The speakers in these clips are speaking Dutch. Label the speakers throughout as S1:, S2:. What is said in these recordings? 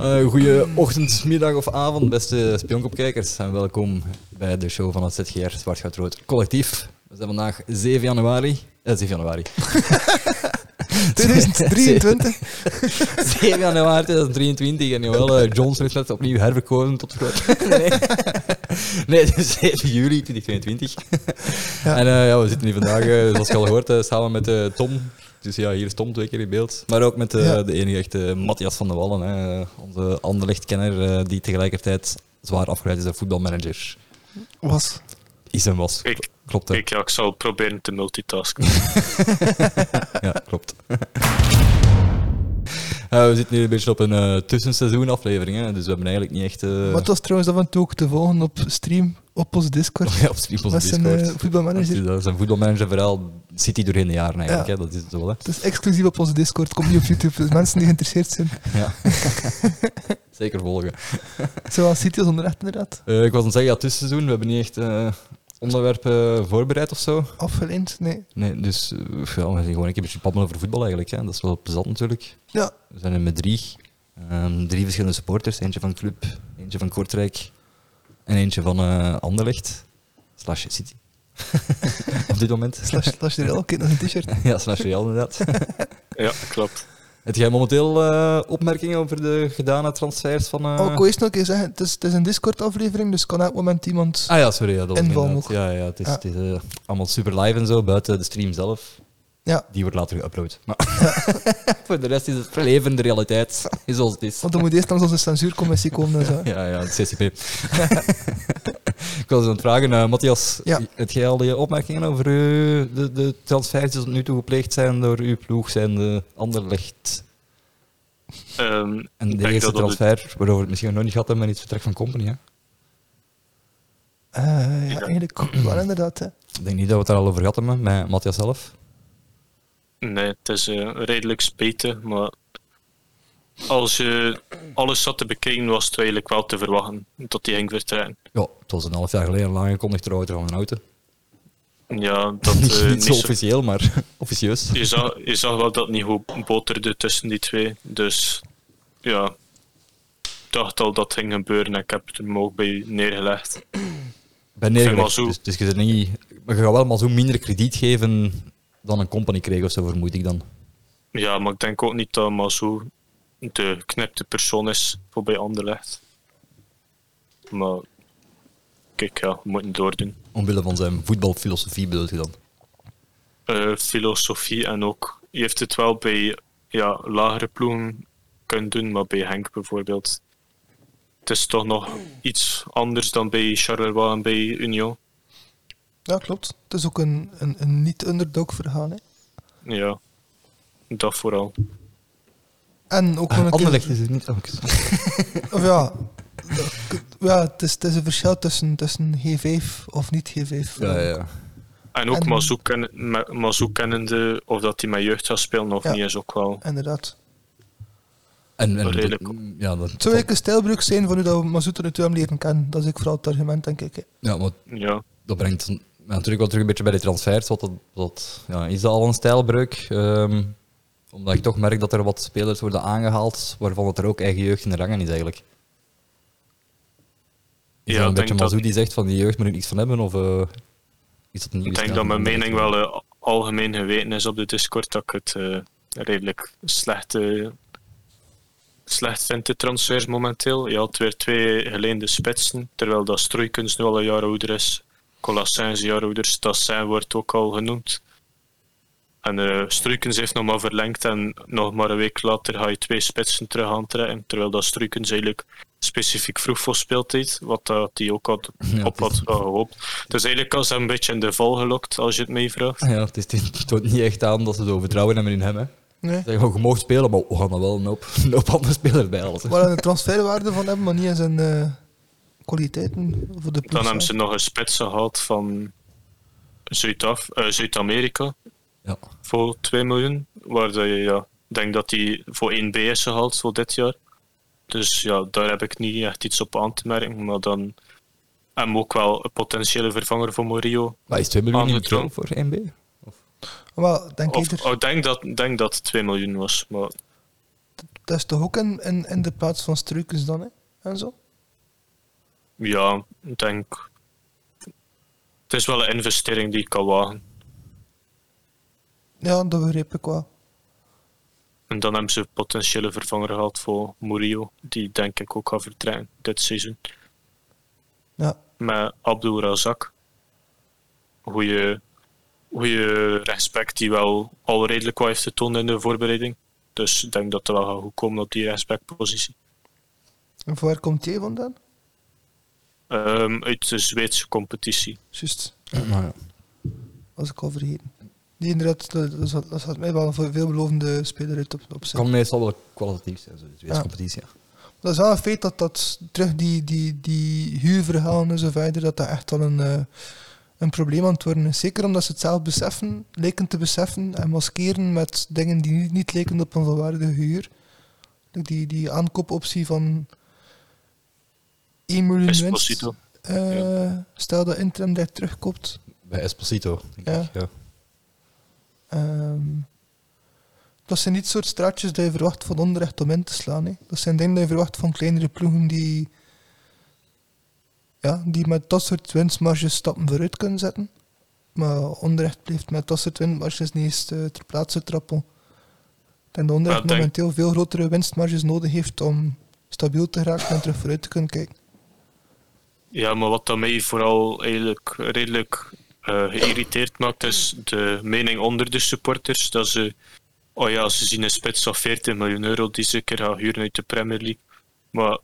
S1: Eh goeie ochtend, middag of avond, beste spionkopkijkers. En welkom bij de show van het ZGR Zwart Goud Rood Collectief. We zijn vandaag 7 januari. Eh, 7 januari.
S2: 2023.
S1: 7 januari 2023. En jawel, eh, Johnson is net opnieuw herverkozen tot groot. Nee, nee het is 7 juli 2022. En eh, ja, we zitten hier vandaag, eh, zoals je al hoort, eh, samen met eh, Tom. Dus ja, hier is Tom twee keer in beeld. Maar ook met eh,
S2: Ja.
S1: de enige echte Matthias van de Wallen, hè, onze Anderlecht-kenner, eh, die tegelijkertijd zwaar afgeleid is als voetbalmanager.
S2: Was.
S1: Is en was.
S3: Ik-
S1: Klopt, hè?
S3: Kijk, ja, ik zal proberen te multitasken.
S1: Ja, klopt. Eh, we zitten nu een beetje op een eh tussenseizoen aflevering, hè, dus we hebben eigenlijk niet echt... eh,
S2: Maar het was trouwens af en toe ook te volgen op stream, op ons Discord.
S1: Ja, op Spiegels
S2: met zijn
S1: Discord.
S2: eh, voetbalmanager.
S1: Dat is een voetbalmanager verhaal zit hij doorheen de jaren eigenlijk,
S2: Ja.
S1: hè? dat is het wel. Hè?
S2: Het is exclusief op onze Discord, komt niet op YouTube. Dus mensen die geïnteresseerd zijn.
S1: Ja. Zeker volgen.
S2: Zoals City als onderrecht inderdaad.
S1: Eh, ik was aan het zeggen, ja, tussenseizoen, we hebben niet echt eh, onderwerpen voorbereid of zo.
S2: Afgeleend, nee.
S1: Nee, dus eh, ja, we zijn gewoon een beetje pabbelen over voetbal eigenlijk. Hè? Dat is wel plezant natuurlijk.
S2: Ja,
S1: We zijn er met drie. Ehm, drie verschillende supporters. Eentje van Club, eentje van Kortrijk en eentje van eh, Anderlecht. Slash City. Op dit moment.
S2: slash, slash de Real. Kijk naar zijn t-shirt.
S1: ja, slash Real inderdaad.
S3: ja, klopt.
S1: Heb jij momenteel eh, opmerkingen over de gedane transfers van... eh,
S2: Oh, ik wou eerst nog eens zeggen, het is, het is een Discord-aflevering, dus kan elk moment iemand...
S1: Ah ja, sorry. Ja, dat was
S2: Inval
S1: inderdaad.
S2: nog.
S1: Ja, ja, het is,
S2: Ja.
S1: Het is eh, allemaal super live en zo, buiten de stream zelf.
S2: Ja.
S1: Die wordt later geüpload. Maar voor de rest is het leven de realiteit, is zoals het is.
S2: Want dan moet eerst langs onze censuurcommissie komen en zo.
S1: Ja, ja, het CCP. Ik was aan het vragen, eh, Matthias,
S2: Ja.
S1: heb jij al die opmerkingen over eh, de, de transfers die tot nu toe gepleegd zijn door uw ploeg, zijn de Anderlecht
S3: Ehm,
S1: en
S3: ik
S1: de
S3: denk
S1: eerste
S3: dat dat het-
S1: transfer, waarover we het misschien nog niet gehad hebben, met het vertrek van Company, hè?
S2: Eh, ja, eigenlijk wel inderdaad. Hè.
S1: Ik denk niet dat we het daar al over gehad hebben met Matthias zelf.
S3: Nee, het is eh, redelijk speten, maar als je alles zat te bekijken, was het eigenlijk wel te verwachten dat die ging vertrekken.
S1: Ja, het was een half jaar geleden al aangekondigd trouwens van een auto.
S3: Ja, dat eh,
S1: niet
S3: niet
S1: zo
S3: zo-
S1: officieel, maar officieus.
S3: je, zag, je zag wel dat het niet goed boterde tussen die twee. Dus ja, ik dacht al dat het ging gebeuren en ik heb het hem ook bij u neergelegd.
S1: Bij Nederland.
S3: Mazou.
S1: Dus, dus je, zit niet, maar je gaat wel maar zo minder krediet geven dan een company kreeg of zo, vermoed ik dan.
S3: Ja, maar ik denk ook niet dat Mazou de knipte persoon is voor bij Anderlecht. Maar kijk, ja, we moeten doordoen.
S1: Omwille van zijn voetbalfilosofie bedoel je dan.
S3: Eh, filosofie en ook, je heeft het wel bij ja, lagere ploegen kunnen doen, maar bij Henk bijvoorbeeld. Het is toch nog iets anders dan bij Charleroi en bij Union.
S2: Ja, klopt. Het is ook een, een, een niet-underdog verhaal. Hè.
S3: Ja, dat vooral.
S2: En
S1: Ah,
S2: ook nog een keer- dus
S1: Anderlecht is het niet.
S2: Of ja, dat- ja het, is, het is een verschil tussen, tussen G5 of niet eh, G5.
S1: Ja, ja.
S3: En ook
S2: En-
S3: Mazou ken- Ma- Mazou kennende, of dat hij met jeugd gaat spelen of
S2: Ja.
S3: niet, is ook wel...
S2: Inderdaad.
S1: En, en
S3: Redelijk.
S1: ja, dat,
S2: Het zou eigenlijk een stijlbreuk zijn van hoe dat we Mazoet er nu toe hebben leren kennen. Dat is ook vooral het argument, denk ik. hè.
S1: ja, maar
S3: Ja,
S1: dat brengt ja, natuurlijk wel terug een beetje bij de transfers. Want dat, dat, ja, is dat al een stijlbreuk? Ehm, omdat ik toch merk dat er wat spelers worden aangehaald waarvan het er ook eigen jeugd in de rangen is eigenlijk. Is
S3: Ja,
S1: dat een beetje
S3: ik denk dat-
S1: Mazou die zegt van die jeugd moet er niks van hebben? Of eh, is dat een nieuwe
S3: Ik denk
S1: stijl?
S3: dat mijn mening wel eh, algemeen geweten is op de Discord dat ik het eh, redelijk slecht, eh, slecht vind, de transfers momenteel. Je had weer twee geleende spitsen, terwijl dat Stroeikens nu al een jaar ouder is. Colassens is een jaar ouder, Stassin wordt ook al genoemd. En eh Stroeikens heeft nog maar verlengd en nog maar een week later ga je twee spitsen terug aantrekken. Terwijl dat Stroeikens eigenlijk specifiek vroeg voor speeltijd, wat dat hij ook had
S1: Ja,
S3: op
S1: het is-
S3: had gehoopt. Dus eigenlijk was hij een beetje in de val gelokt, als je het mij vraagt.
S1: Ja, het, is, het toont niet echt aan dat ze zo vertrouwen hebben in hem. Hè.
S2: Nee.
S1: Zeg, je mag spelen, maar we gaan er wel een hoop, een hoop andere spelers bij halen.
S2: Waar we een transferwaarde van hebben, maar niet in zijn eh, kwaliteiten voor de ploeg.
S3: Dan
S2: zelf.
S3: hebben ze nog een spits gehad van Zuid-Af- eh, Zuid-Amerika
S1: Ja.
S3: voor 2 miljoen. Waar dat je, ja, ik denk dat die voor 1B is gehaald voor dit jaar. Dus ja, daar heb ik niet echt iets op aan te merken. Maar dan hem ook wel een potentiële vervanger voor Morio.
S1: Maar is 2 miljoen niet veel
S3: Andere
S1: voor 1B?
S2: Maar denk
S3: Of
S2: ik
S3: oh, ik denk dat, ik denk dat het 2 miljoen was. Maar
S2: dat is toch ook in, in, in de plaats van Struikens dan, hè? En zo?
S3: Ja, ik denk. Het is wel een investering die ik kan wagen.
S2: Ja, dat begreep ik wel.
S3: En dan hebben ze een potentiële vervanger gehad voor Murillo, die denk ik ook gaat vertrekken dit seizoen.
S2: Ja,
S3: Met Abdul Razak. Goeie, goeie respect die wel al redelijk wat heeft getoond in de voorbereiding. Dus ik denk dat het wel gaat goed komen op die respectpositie.
S2: en van waar komt die vandaan?
S3: Ehm, uit de Zweedse competitie.
S2: Juist,
S1: Nou ja.
S2: was ik al vergeten. Die inderdaad, dat, dat, zat- dat zat mij wel een veelbelovende speler uit op, op zijn.
S1: kan meestal wel kwalitatief zijn, zo, de Zweedse
S2: Ja.
S1: competitie. Ja.
S2: Dat is wel een feit dat dat terug die, die, die huurverhalen en zo verder, dat dat echt wel een, eh, een probleem aan het worden is. Zeker omdat ze het zelf beseffen, lijken te beseffen en maskeren met dingen die niet, niet lijken op een volwaardige huur. Die, die aankoopoptie van 1 miljoen winst.
S3: Esposito.
S2: eh, Stel dat Interim daar terugkoopt.
S1: Bij Esposito, denk
S2: Ja.
S1: ik. Ja.
S2: Ehm, dat zijn niet soort straatjes dat je verwacht van onrecht om in te slaan. Hè. Dat zijn dingen dat je verwacht van kleinere ploegen die, ja, die met dat soort winstmarges stappen vooruit kunnen zetten. Maar onrecht blijft met dat soort winstmarges niet eens eh, ter plaatse trappelen. En de onrecht
S3: Ja, ik denk-
S2: momenteel veel grotere winstmarges nodig heeft om stabiel te raken en terug vooruit te kunnen kijken.
S3: Ja, maar wat dat mij vooral eigenlijk redelijk eh, geïrriteerd maakt, is de mening onder de supporters dat ze, oh ja, ze zien een spits van 40 miljoen euro die ze een keer gaan huren uit de Premier League. Maar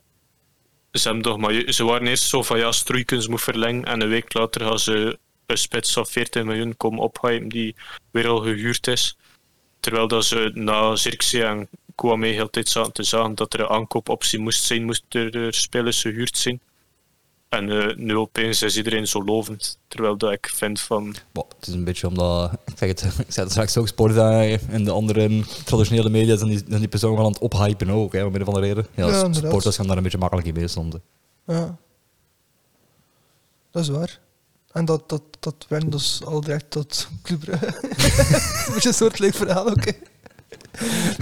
S3: ze, hebben toch maar ju- ze waren eerst zo van ja, Stroeikens moet verlengen en een week later gaan ze een spits van 40 miljoen komen ophypen die weer al gehuurd is. Terwijl dat ze na Zirkzee en Kouame heel de tijd zaten te zagen dat er een aankoopoptie moest zijn, moesten er spelers gehuurd zijn. En eh, nu opeens is iedereen zo lovend. Terwijl dat ik vind van.
S1: Bah, het is een beetje omdat, ik zeg het, ik zei het straks ook, Sporza en de andere traditionele media zijn die, zijn die persoon wel aan het ophypen ook, hè, om een of andere reden. Ja,
S2: Ja,
S1: ja
S2: inderdaad.
S1: sporters gaan daar een beetje makkelijk in mee soms. hè.
S2: Ja. Dat is waar. En dat, dat, dat brengt dus al direct tot Club Brugge. een beetje een soortgelijk verhaal ook. hè.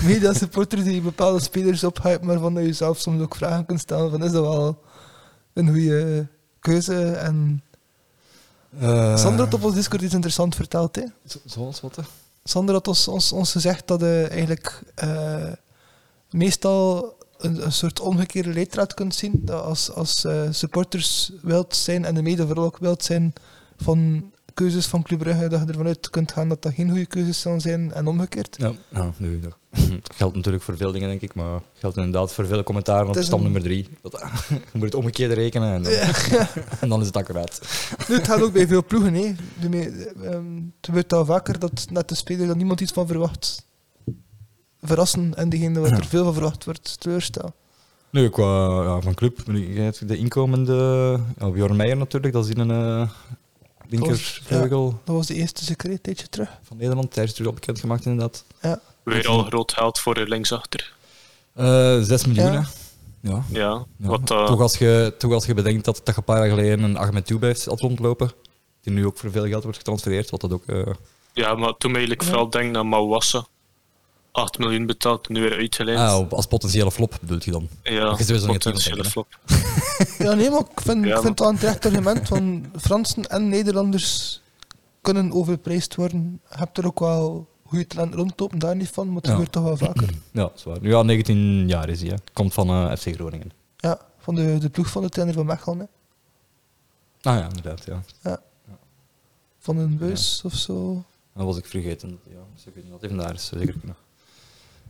S2: Media supporters die bepaalde spelers ophypen, maar van dat je zelf soms ook vragen kunt stellen van is dat wel een goede keuze? En
S1: Eh.
S2: Sander had op ons Discord iets interessants verteld. Hè?
S1: Zo- Zoals wat? hè?
S2: Sander had ons, ons, ons gezegd dat je eigenlijk eh, meestal een, een soort omgekeerde leidraad kunt zien. Dat als, als eh, supporters wild zijn en de mede vooral ook wild zijn van keuzes van Club Brugge, dat je ervan uit kunt gaan dat dat geen goede keuzes zullen zijn en omgekeerd.
S1: Ja, nou, nu, dat geldt natuurlijk voor veel dingen, denk ik, maar geldt inderdaad voor veel commentaren op
S2: Het is
S1: stam
S2: een-
S1: nummer 3. Je moet het omgekeerde rekenen en dan, en dan is het accuraat.
S2: Nu, het gaat ook bij veel ploegen. Hè. De me- ehm, het gebeurt al vaker dat net de speler dat niemand iets van verwacht verrassen en degene waar er veel van verwacht wordt teleurstellen.
S1: Nu, qua ja, van club, nu, je hebt de inkomende, ja, Bjorn Meijer natuurlijk, dat is in een eh linker
S2: Ja.
S1: vleugel
S2: Dat was de eerste secret, een tijdje terug.
S1: van Nederland, tijdens natuurlijk bekend gemaakt inderdaad.
S2: Ja.
S3: Weer al groot geld voor de linksachter.
S1: eh 6 miljoen, hè?
S2: Ja.
S1: Ja.
S3: Ja,
S1: ja.
S3: wat dat.
S1: toch, als je, toch als je bedenkt dat, dat je een paar jaar geleden een Ahmed Toube heeft had rondlopen, die nu ook voor veel geld wordt getransfereerd, wat dat ook... eh,
S3: Ja, maar toen eigenlijk vooral denk naar Mawassa. 8 miljoen betaald, nu weer uitgeleend.
S1: ah, op- als potentiële flop bedoelt je dan?
S3: ja,
S1: dat is sowieso niet het
S3: potentiële
S1: team,
S3: flop.
S2: Ja, nee, maar ik vind,
S3: Ja,
S2: ik
S3: maar-
S2: vind het wel een terecht argument. Van Fransen en Nederlanders kunnen overprijsd worden. Je hebt er ook wel goede talent rondlopen, daar niet van, maar het
S1: Ja.
S2: gebeurt toch wel vaker.
S1: Ja, dat is waar. Nu ja, 19 jaar is hij, hè. Komt van eh, FC Groningen.
S2: Ja, van de, de ploeg van de trainer van Mechelen, hè.
S1: Ah ja, inderdaad, ja.
S2: van een bus of zo.
S1: Dat was ik vergeten. Ja, dus ze kunnen dat even daar, is zeker kunnen.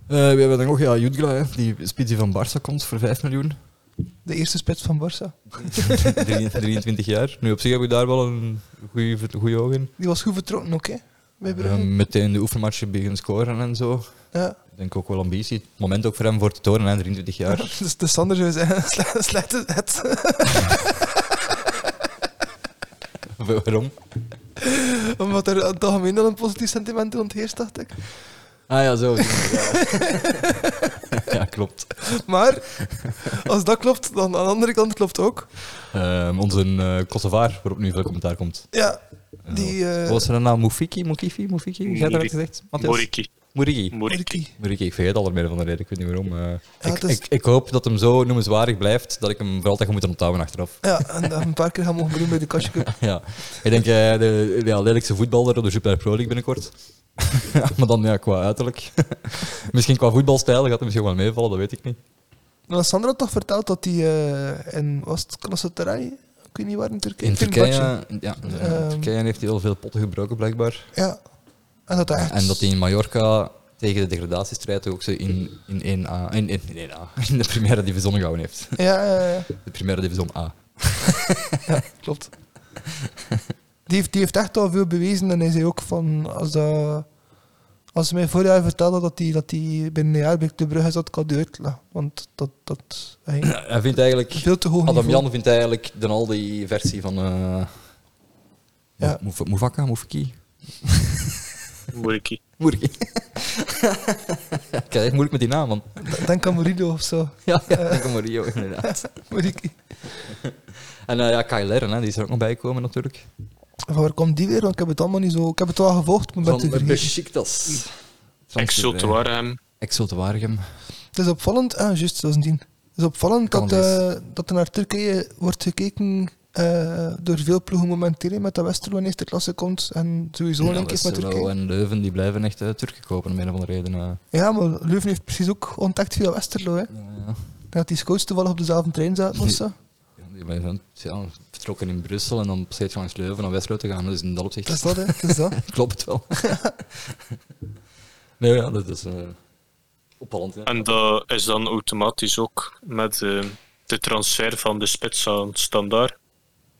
S1: Eh, we hebben dan nog ja, Jutgla, hè, die spits die van Barça komt voor 5 miljoen.
S2: De eerste spits van Barça.
S1: 23 jaar. Nu op zich heb ik daar wel een goede oog in.
S2: Die was goed vertrokken ook, hè, bij
S1: Ja,
S2: Brugge.
S1: Eh, meteen de oefenmatchen beginnen scoren en zo.
S2: ja.
S1: Ik denk ook wel ambitie. Het moment ook voor hem voor te tonen, hè, 23 jaar.
S2: Dus de Sander zou zeggen, sla- slaat het.
S1: Waarom?
S2: Omdat er aan het algemeen al een positief sentiment ontheerst, dacht ik.
S1: Ah ja, zo. ja. ja, klopt.
S2: Maar, als dat klopt, dan aan de andere kant klopt ook.
S1: Ehm, onze eh Kosovaar, waarop nu veel commentaar komt.
S2: Ja,
S1: Eh,
S2: die... eh,
S1: nou? Wat was zijn naam? Mufiki? Mukiki? Mufiki? Jij hebt dat
S3: Muri-
S1: gezegd, Matthias?
S3: Moriki.
S1: Murigi.
S3: Muriki.
S1: Murigi, ik vergeet al er meer van de reden, ik weet niet waarom. eh.
S2: Ja, dus-
S1: ik,
S2: het is-
S1: ik, ik hoop dat hem zo noemenswaardig blijft dat ik hem voor altijd ga moeten onthouden achteraf.
S2: Ja, en dat we een paar keer gaan mogen bedoelen bij de Katje Cup.
S1: Ja, ik denk eh de ja, lelijkste voetballer op de Super Pro League binnenkort. maar dan ja, qua uiterlijk. misschien qua voetbalstijl gaat het misschien wel meevallen, dat weet ik niet.
S2: Maar Sandra had toch verteld dat hij eh in, was het Krasnotarij? Ik weet niet waar in Turkije.
S1: In
S2: Fenerbahce.
S1: Turkije, ja, in
S2: Ehm.
S1: Turkije heeft hij al veel potten gebroken, blijkbaar.
S2: Ja. En dat hij echt...
S1: En dat hij in Mallorca tegen de degradatiestrijd ook zo in, in 1A, in, in, in 1A, in de primaire division gehouden heeft.
S2: Ja, ja, ja.
S1: De primaire division A.
S2: Klopt. Die heeft, die heeft echt al veel bewezen en hij zei ook van als dat. Als ze mij vorig jaar vertelden dat hij dat die binnen een jaar bij de Brugge zat, kan die uitleggen. Want dat, dat hij
S1: Hij vindt eigenlijk,
S2: veel te hoog
S1: Adam
S2: niveau.
S1: Jan vindt eigenlijk de Aldi versie van eh
S2: Ja.
S1: Moef- Moefaka, Moefaki,
S3: Muriki.
S1: Moerki. Ik krijg echt moeilijk met die naam, man.
S2: Denk aan Morido of zo.
S1: Ja, ja.
S2: Eh.
S1: Denk aan Mario, inderdaad.
S2: Moriki.
S1: En eh, ja, Kyle Lerren, hè, die is er ook nog bij komen natuurlijk.
S2: Van waar komt die weer? Want ik heb het allemaal niet zo... Ik heb het wel gevolgd, maar ben te
S1: Van
S2: vergeten.
S1: Besiktas.
S3: Exo te Warham.
S1: Exo te Waregem.
S2: Het is opvallend... Ah, juist, dat is een dien. Het is opvallend
S1: Kan
S2: dat, eh, dat er naar Turkije wordt gekeken eh, door veel ploegen momenteel. Met dat Westerlo in eerste klasse komt en sowieso
S1: Ja,
S2: een keer met
S1: Westerlo
S2: Turkije.
S1: en Leuven die blijven echt eh, Turken kopen, om een of andere reden. eh.
S2: Ja, maar Leuven heeft precies ook ontdekt via Westerlo. Hè.
S1: Ja,
S2: Dat die scouts toevallig op dezelfde trein zaten of zo.
S1: ja. Die blijven ja, vertrokken in Brussel en dan steeds langs Leuven naar Westerlo te gaan. Dus in dat opzicht
S2: Dat is dat, hè. Dat is dat.
S1: klopt het wel. nee, ja, dat is eh opvallend. hè.
S3: En dat is dan automatisch ook met eh, de transfer van de spits aan Standaard,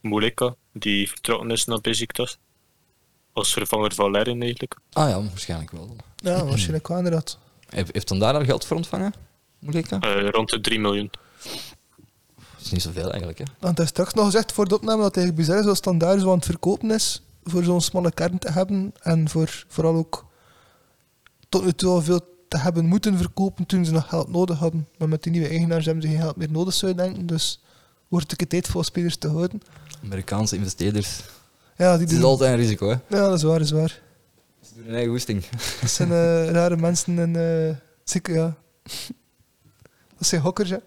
S3: Muleka, die vertrokken is naar Besiktas. Als vervanger van Lerin eigenlijk.
S1: Ah ja, waarschijnlijk wel.
S2: Ja, waarschijnlijk wel inderdaad.
S1: Heeft, heeft dan daar daar geld voor ontvangen? Moeleka?
S3: Eh, rond de 3 miljoen.
S1: Dat is niet zoveel eigenlijk, hè?
S2: Want hij is straks nog gezegd voor de opname dat het eigenlijk bizar is als standaard zo aan het verkopen is voor zo'n smalle kern te hebben en voor vooral ook tot nu toe al veel te hebben moeten verkopen toen ze nog geld nodig hadden. Maar met die nieuwe eigenaars hebben ze geen geld meer nodig, zou je denken. Dus wordt het een keer tijd voor spelers te houden.
S1: Amerikaanse investeerders.
S2: Ja, die
S1: Het is
S2: doen...
S1: altijd een risico, hè?
S2: Ja, dat is waar, dat is waar.
S1: Ze doen hun eigen goesting.
S2: Dat zijn eh, rare mensen en eh, zeker, ja. Dat zijn hokkers, hè.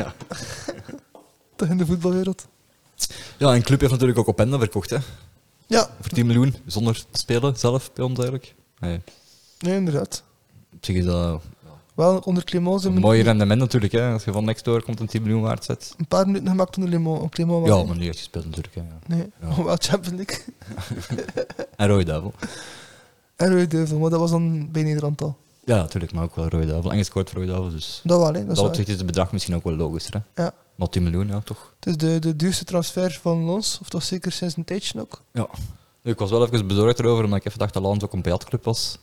S1: Ja.
S2: Toch in de voetbalwereld.
S1: Ja, en Club heeft natuurlijk ook Openda verkocht, hè?
S2: Ja,
S1: Voor 10 miljoen, zonder te spelen zelf bij ons eigenlijk. Nee,
S2: nee, inderdaad.
S1: op zich is dat
S2: Wel onder Clément zijn
S1: een
S2: we
S1: mooi rendement natuurlijk, hè? Als je van next door komt een 10 miljoen waard zet.
S2: een paar minuten gemaakt onder Clément. op Clément
S1: Ja,
S2: wel.
S1: maar niet echt gespeeld natuurlijk, hè? ja.
S2: Nee,
S1: Ja.
S2: wel Champions League.
S1: En Rode Duivel.
S2: En Rode Duivel, maar dat was dan bij Nederland al.
S1: Ja, natuurlijk, maar ook wel Rode Duivel. En gescoord voor Rode Duivel, dus...
S2: Dat wel,
S1: Dat,
S2: hè. Dat is
S1: dat
S2: waar.
S1: opzicht is het bedrag misschien ook wel logischer, hè?
S2: Ja.
S1: Maar 10 miljoen, ja, toch?
S2: Het is de, de duurste transfer van ons, of toch zeker sinds een tijdje ook.
S1: Ja. Ik was wel even bezorgd erover, omdat ik even dacht dat Lans ook een Beatclub was.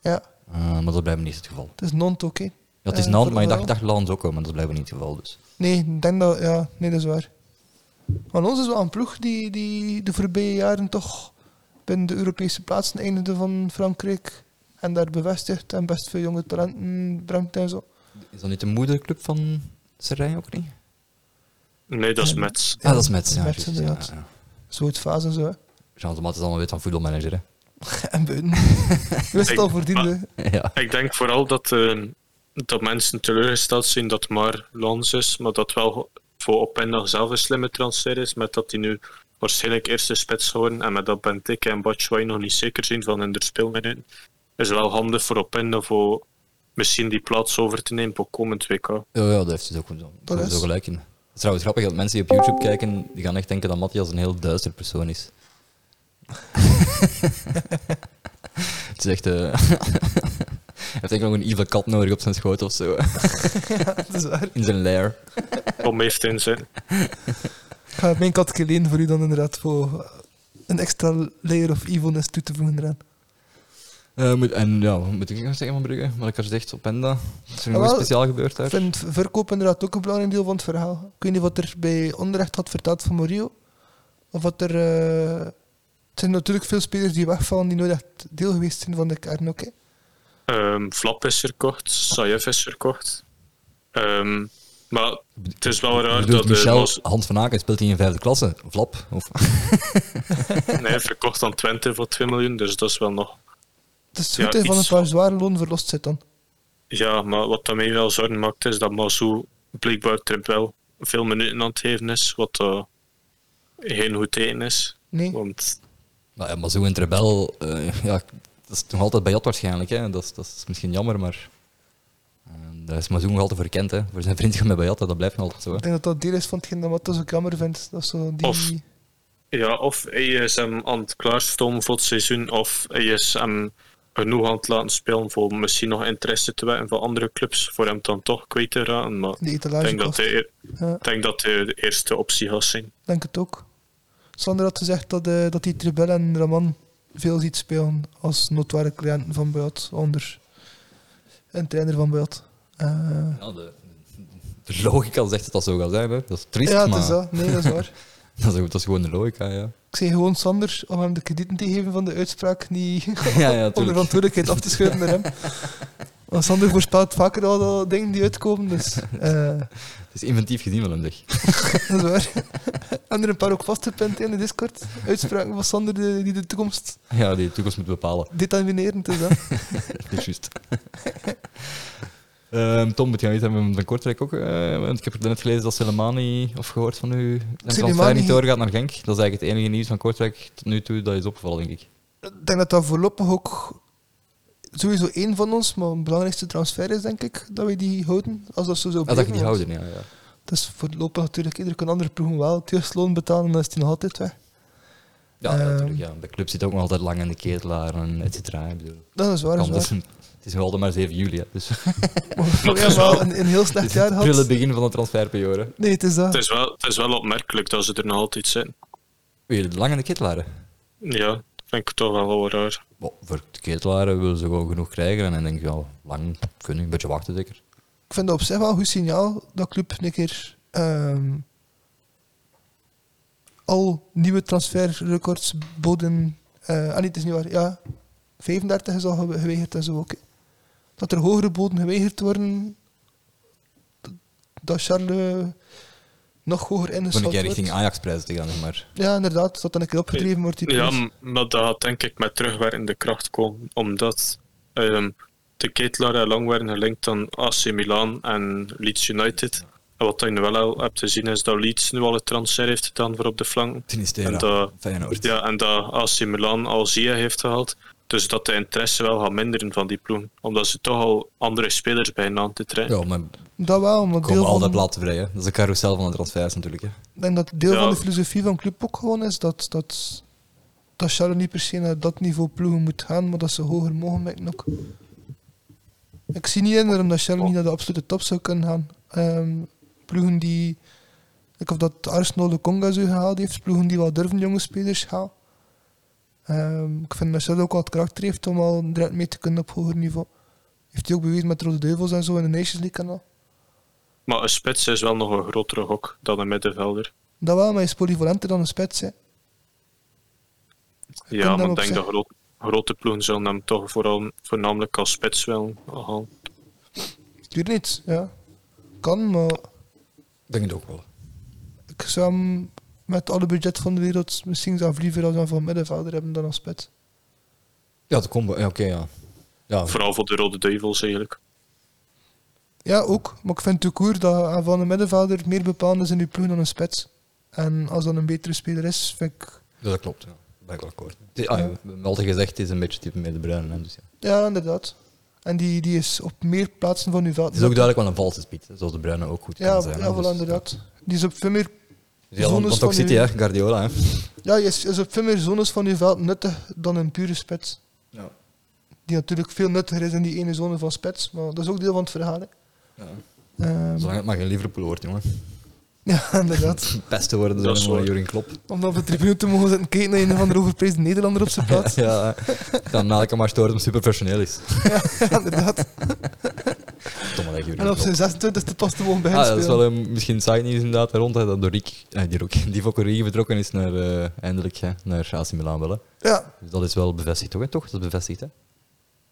S2: Ja,
S1: Eh, maar dat blijft niet het geval.
S2: het is non oké.
S1: Ja, het is
S2: Eh,
S1: Nant,
S2: voor-
S1: maar ik dacht,
S2: vooral.
S1: ik dacht Lans ook wel, maar dat blijft niet het geval. Dus.
S2: Nee, ik denk dat... Ja, nee, dat is waar. Maar ons is wel een ploeg die, die de voorbije jaren toch binnen de Europese plaatsen eindigde van Frankrijk. En daar bevestigd en best veel jonge talenten brengt en zo.
S1: Is dat niet de moederclub van Serijn ook niet?
S3: Nee, dat is Mets.
S1: ah, dat is Mets, ja.
S2: Mets,
S1: juist,
S2: inderdaad.
S1: ja, ja.
S2: Zo het fase en zo. hè.
S1: Jean de Mat is allemaal weet van voetbalmanager, hè.
S2: En buiten. Je wist het al verdiende.
S1: ja.
S3: Ik denk vooral dat, eh, dat mensen teleurgesteld zijn dat het maar Lons is, maar dat wel voor Openda zelf een slimme transfer is, met dat hij nu waarschijnlijk eerste spits geworden en met dat Benteke en Batshuayi nog niet zeker zijn van hun speelminuten, is wel handig voor Openda voor misschien die plaats over te nemen voor komend WK.
S1: Ja, ja, dat heeft dus ook zo,
S2: Dat is-
S1: zo gelijk in. Het is trouwens grappig dat mensen die op YouTube kijken, die gaan echt denken dat Matthias een heel duister persoon is. het is echt... eh, Hij heeft denk ik nog een evil kat nodig op zijn schoot of zo,
S2: Dat is waar.
S1: in zijn lair.
S3: Om heeft in zijn.
S2: Ik ga mijn katje lenen voor u dan inderdaad voor eh, een extra layer of evilness toe te voegen eraan.
S1: Eh, moet, en ja, wat moet ik nog zeggen van Brugge? Wat ik er zegt op Penda. Is er nog
S2: Ah,
S1: iets
S2: wel,
S1: speciaal gebeurd
S2: Ik
S1: daar?
S2: vind verkoop inderdaad ook een belangrijk deel van het verhaal. Ik weet niet wat er bij Onrecht had verteld van Morio. Of wat er... eh, het zijn natuurlijk veel spelers die wegvallen die nooit echt deel geweest zijn van de kern, oké?
S3: Ehm, Flap is verkocht, Sayev is verkocht. Ehm, maar het is wel raar
S1: Bedoelt
S3: dat... eh,
S1: Michel
S3: Mas-
S1: Hans van Aken speelt hij in vijfde klasse? Flap? Of,
S3: Nee, verkocht aan Twente voor 2 miljoen, dus dat is wel nog
S2: Het is
S3: Ja,
S2: goed dat je van een
S3: iets
S2: paar zware lonen verlost zit dan.
S3: Ja, maar wat dat mij wel zorgen maakt, is dat Mazou blijkbaar Trump wel veel minuten aan het geven is, wat eh, geen goed teken is.
S2: Nee.
S3: Want
S1: Nou ja, maar zo'n rebel, eh, ja, dat is nog altijd bij Jot waarschijnlijk. Hè. Dat, is, dat is misschien jammer, maar eh, daar is Mazoen nog altijd voor gekend. Hè. Voor zijn vriendschap met Bayat, dat blijft nog altijd zo. Hè.
S2: Ik denk dat dat deel is van hetgeen dat Matta zo jammer vindt. Dat is zo die...
S3: Of- ja, of hij is hem aan het klaarstomen voor het seizoen, of hij is hem genoeg aan het laten spelen voor misschien nog interesse te wekken van andere clubs, voor hem dan toch kwijt te raken. Maar
S2: Die
S3: ik denk
S2: etalagekast.
S3: dat, hij,
S2: Ja.
S3: ik denk dat hij de eerste optie gaat zijn.
S2: denk het ook. Sander had gezegd dat, eh, dat hij Trebel en Raman veel ziet spelen als notoire cliënten van Boyat onder een trainer van Boyat. Eh,
S1: Ja, de, de logica zegt dat dat zo gaat zijn. Hè. Dat is triest,
S2: ja, het
S1: maar
S2: is
S1: dat.
S2: dat. Nee, dat is waar.
S1: is, dat is gewoon de logica, ja.
S2: Ik zei gewoon Sander om hem de kredieten te geven van de uitspraak, niet
S1: ja, ja
S2: om de
S1: tuurlijk.
S2: verantwoordelijkheid af te schuiven naar hem. Want Sander voorspelt vaker al dat dingen die uitkomen, dus eh,
S1: Het is inventief gezien wel hem, zeg.
S2: dat is waar. en er een paar ook vastgepind in de Discord. Uitspraken van Sander de- die de toekomst
S1: Ja, die de toekomst moet bepalen.
S2: determinerend is. Hè?
S1: Dat is juist. Ehm, Tom, moet jij iets hebben met een kortrek ook? eh, want ik heb net gelezen dat Selemani, of gehoord van u, een transfer
S2: Soleimani-
S1: niet doorgaat naar Genk. Dat is eigenlijk het enige nieuws van kortrek tot nu toe dat is opgevallen, denk ik.
S2: Ik denk dat dat voorlopig ook sowieso één van ons, maar een belangrijkste transfer is, denk ik, dat we die houden. Als dat zo zou
S1: Ah, dat ik
S2: blijven,
S1: niet
S2: want
S1: houden, ja. ja.
S2: Het is voorlopig natuurlijk, iedereen kan andere ploegen wel het jeugdloon betalen, en dan is die nog altijd weg.
S1: Ja, ja,
S2: Ehm.
S1: natuurlijk. Ja. De club zit ook nog altijd lang in de ketelaar en et cetera. Ik bedoel,
S2: Dat is waar, dat
S1: kan,
S2: is
S1: dat is
S2: waar.
S1: een- het is nog altijd maar 7 juli, hè, dus het
S2: Maar we hebben wel een, een heel slecht
S1: is
S2: jaar
S1: het prille
S2: gehad.
S1: begin van de transferperiode.
S2: Nee, het is
S3: Het
S2: dat.
S3: is wel, het is wel opmerkelijk dat ze er nog altijd zijn.
S1: Weer lang in de ketelaar. hè.
S3: Ja, vind ik toch wel wel raar.
S1: Bon, voor de ketelaar willen ze gewoon genoeg krijgen en dan denk je, ja, lang kunnen, een beetje wachten zeker.
S2: Ik vind dat op zich wel een goed signaal dat club een keer ehm, al nieuwe transferrecords boden. eh, ah, niet, het is niet waar. Ja, 35 is al gewe- geweigerd en zo ook. hè. Dat er hogere boden geweigerd worden. d- Dat Charles nog hoger
S1: Toen een
S2: ingeschat
S1: keer
S2: wordt.
S1: richting Ajax-prijzen te gaan, zeg maar.
S2: Ja, inderdaad. Dat dan een keer opgedreven wordt. Die
S3: Ja,
S2: prijs.
S3: m- maar dat gaat denk ik met terugwerkende kracht komen, omdat ehm, de ketelaar en lang werden gelinkt aan AC Milan en Leeds United. En wat je nu wel al hebt gezien is dat Leeds nu al een transfer heeft gedaan voor op de flanken.
S1: Sinistera,
S3: En dat-
S1: Feyenoord.
S3: Ja, en dat AC Milan al Zia heeft gehaald. Dus dat de interesse wel gaat minderen van die ploeg. Omdat ze toch al andere spelers bijna aan te trainen.
S1: Ja, maar
S2: dat wel, maar deel
S1: komen altijd
S2: van-
S1: platen vrij. Hè. Dat is een carousel van de transfers natuurlijk. Hè.
S2: Ik denk dat deel
S3: Ja.
S2: van de filosofie van Club ook gewoon is dat, dat, dat Charles niet per se naar dat niveau ploegen moet gaan, maar dat ze hoger mogen merken ook. Ik zie niet in waarom dat Charles niet naar de absolute top zou kunnen gaan. Ehm, ploegen die, ik of dat Arsenal de Conga zo gehaald heeft, ploegen die wel durven jonge spelers gaan. Ehm, ik vind dat Charles ook al het karakter heeft om al direct mee te kunnen op hoger niveau. Heeft hij ook bewezen met Rode Duivels en zo in de Nations League en al.
S3: Maar een spits is wel nog een grotere gok dan een middenvelder.
S2: Dat wel, maar hij is polyvalenter dan een spits. Hè. kunt
S3: Ja,
S2: hem
S3: maar ik
S2: op
S3: denk
S2: zich-
S3: dat gro- grote ploegen zullen hem toch vooral, voornamelijk als spits willen halen.
S2: Ik weet niet, ja. Kan, maar
S1: Denk het ook wel.
S2: ik zou hem met alle budget van de wereld misschien zelf liever als een van middenvelder hebben dan als spits.
S1: Ja, de combo. Ja, oké, ja. Ja,
S3: Vooral voor de Rode Duivels eigenlijk.
S2: Ja, ook. Maar ik vind toekoer dat een van een middenvelder meer bepalend is in uw ploeg dan een spits. En als dat een betere speler is, vind ik...
S1: ja, dat klopt. Ja. Daar ben ik wel akkoord. Het is- ah, ja, we hebben altijd gezegd, het is een beetje type met de bruine. Hè, dus ja.
S2: Ja, inderdaad. En die, die is op meer plaatsen van uw veld.
S1: Het is ook duidelijk wel een valse spits, hè, zoals de bruine ook goed
S2: Ja,
S1: kan zijn. hè,
S2: ja, voilà,
S1: dus-
S2: inderdaad. Die is op veel meer...
S1: Dus ja, want,
S2: zones
S1: want ook
S2: van
S1: City,
S2: uw-
S1: hè, Guardiola. Hè.
S2: Ja, die is, is op veel meer zones van uw veld nuttig dan een pure spits.
S1: Ja.
S2: Die natuurlijk veel nuttiger is in die ene zone van spits. Maar dat is ook deel van het verhaal, hè. Ehm,
S1: Zolang het maar geen Liverpool wordt, jongen.
S2: Ja, inderdaad.
S1: Pesten worden
S3: Dat
S1: door
S3: is
S1: een
S3: waar.
S1: Jurin Klopp.
S2: Om dan op de tribune te mogen zitten kijken naar een of andere overprezen Nederlander op zijn plaats.
S1: Ja, hè. dan na ik hem maar storen dat hij super professioneel is.
S2: Ja, inderdaad.
S1: Domme dat Jurgen
S2: En op
S1: Klopp.
S2: zijn 26 e pas te mogen bij hen
S1: Ah, dat is
S2: spelen.
S1: wel een, misschien side nieuws inderdaad rond hè, dat Dorik, eh, die, ook, die Vokkerie vertrokken is naar, eh, eindelijk hè, naar AC Milan wel. hè.
S2: Ja.
S1: Dus dat is wel bevestigd toch? Hè? toch? Dat is bevestigd hè?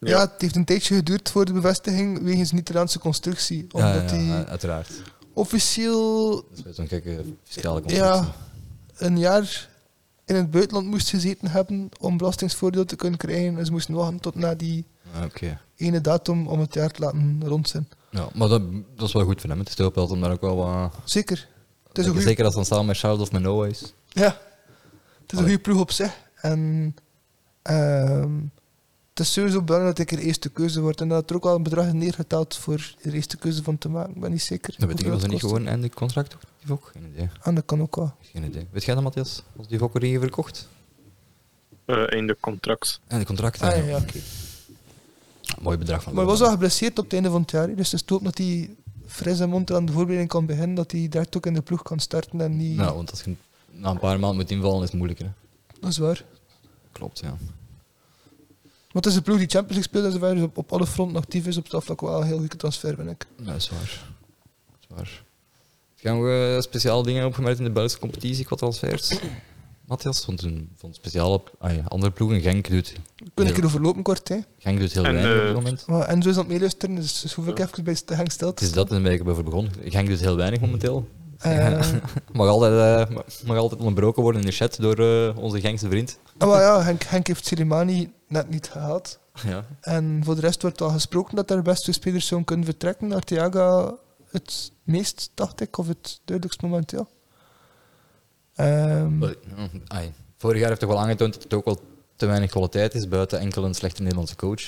S2: Ja. het heeft een tijdje geduurd voor de bevestiging wegens Nederlandse constructie.
S1: Ja,
S2: Omdat
S1: ja,
S2: die
S1: ja, uiteraard.
S2: officieel
S1: Dat is wel zo'n gekke fiscale constructie.
S2: ja, een jaar in het buitenland moest gezeten hebben om belastingsvoordeel te kunnen krijgen. Dus ze moesten wachten tot na die
S1: Ah, Oké.
S2: ene datum om het jaar te laten rond zijn.
S1: Ja, maar dat, dat is wel goed voor hem. Het is heel om daar ook wel wat...
S2: Zeker. Het is een goeie-
S1: zeker als het dan samen met Charles of met Noah is.
S2: Ja. Het is een
S1: Allee.
S2: goede ploeg op zich. En ehm, het is sowieso belangrijk dat ik er eerste keuze word. En dat er ook al een bedrag is neergeteld voor de eerste keuze van te maken. Ik ben niet zeker.
S1: Dat weet ik
S2: hoeveel
S1: niet, was
S2: het
S1: er niet
S2: kost.
S1: gewoon einde contract ook? Die Vok? Geen idee.
S2: Ah, dat kan ook wel.
S1: Geen idee. Weet jij dat, Matthias? Was die Fokker hier verkocht?
S3: eh, in de contract.
S1: En de contract?
S2: Ah,
S1: hè?
S2: ja, ja.
S1: Oké. Mooi bedrag van
S2: Maar hij was al
S1: Londen.
S2: geblesseerd op het einde van het jaar. hè. Dus het is te hopen dat hij fris en monter aan de voorbereiding kan beginnen. Dat hij direct ook in de ploeg kan starten. En niet...
S1: Nou, want als je na een paar maanden moet invallen, is het moeilijker. Hè?
S2: Dat is waar.
S1: Klopt, ja.
S2: Want het is een ploeg die Champions League speelt. En zover dus op, op alle fronten actief is. Op dat vlak wel een heel goede transfer, ben ik.
S1: Dat is waar. Dat is waar. Gaan we speciaal dingen opgemerkt in de Belgische competitie qua transfers? Matthias vond een vond speciaal op ah ja, andere ploegen. Genk doet,
S2: We kunnen een keer overlopen kort. Hè.
S1: Genk doet heel
S3: En,
S1: weinig op
S3: eh,
S1: dit moment.
S2: Maar Enzo is aan het meeluisteren. Dus, dus hoef ik
S3: Ja.
S2: even bij te gaan stil
S1: Het
S2: te
S1: is dat en ben ik erover begonnen. Genk doet heel weinig momenteel.
S2: Eh,
S1: Mag altijd, eh, mag- mag altijd onderbroken worden in de chat door eh, onze Genkse vriend.
S2: Ah, maar ja, Henk, Henk heeft Silimani net niet gehaald.
S1: Ja.
S2: En voor de rest wordt al gesproken dat er best twee spelers zouden kunnen vertrekken. Arteaga het meest, dacht ik, of het duidelijkst momenteel. Ehm,
S1: Ai. Vorig jaar heeft toch wel aangetoond dat het ook wel te weinig kwaliteit is, buiten enkel een slechte Nederlandse coach.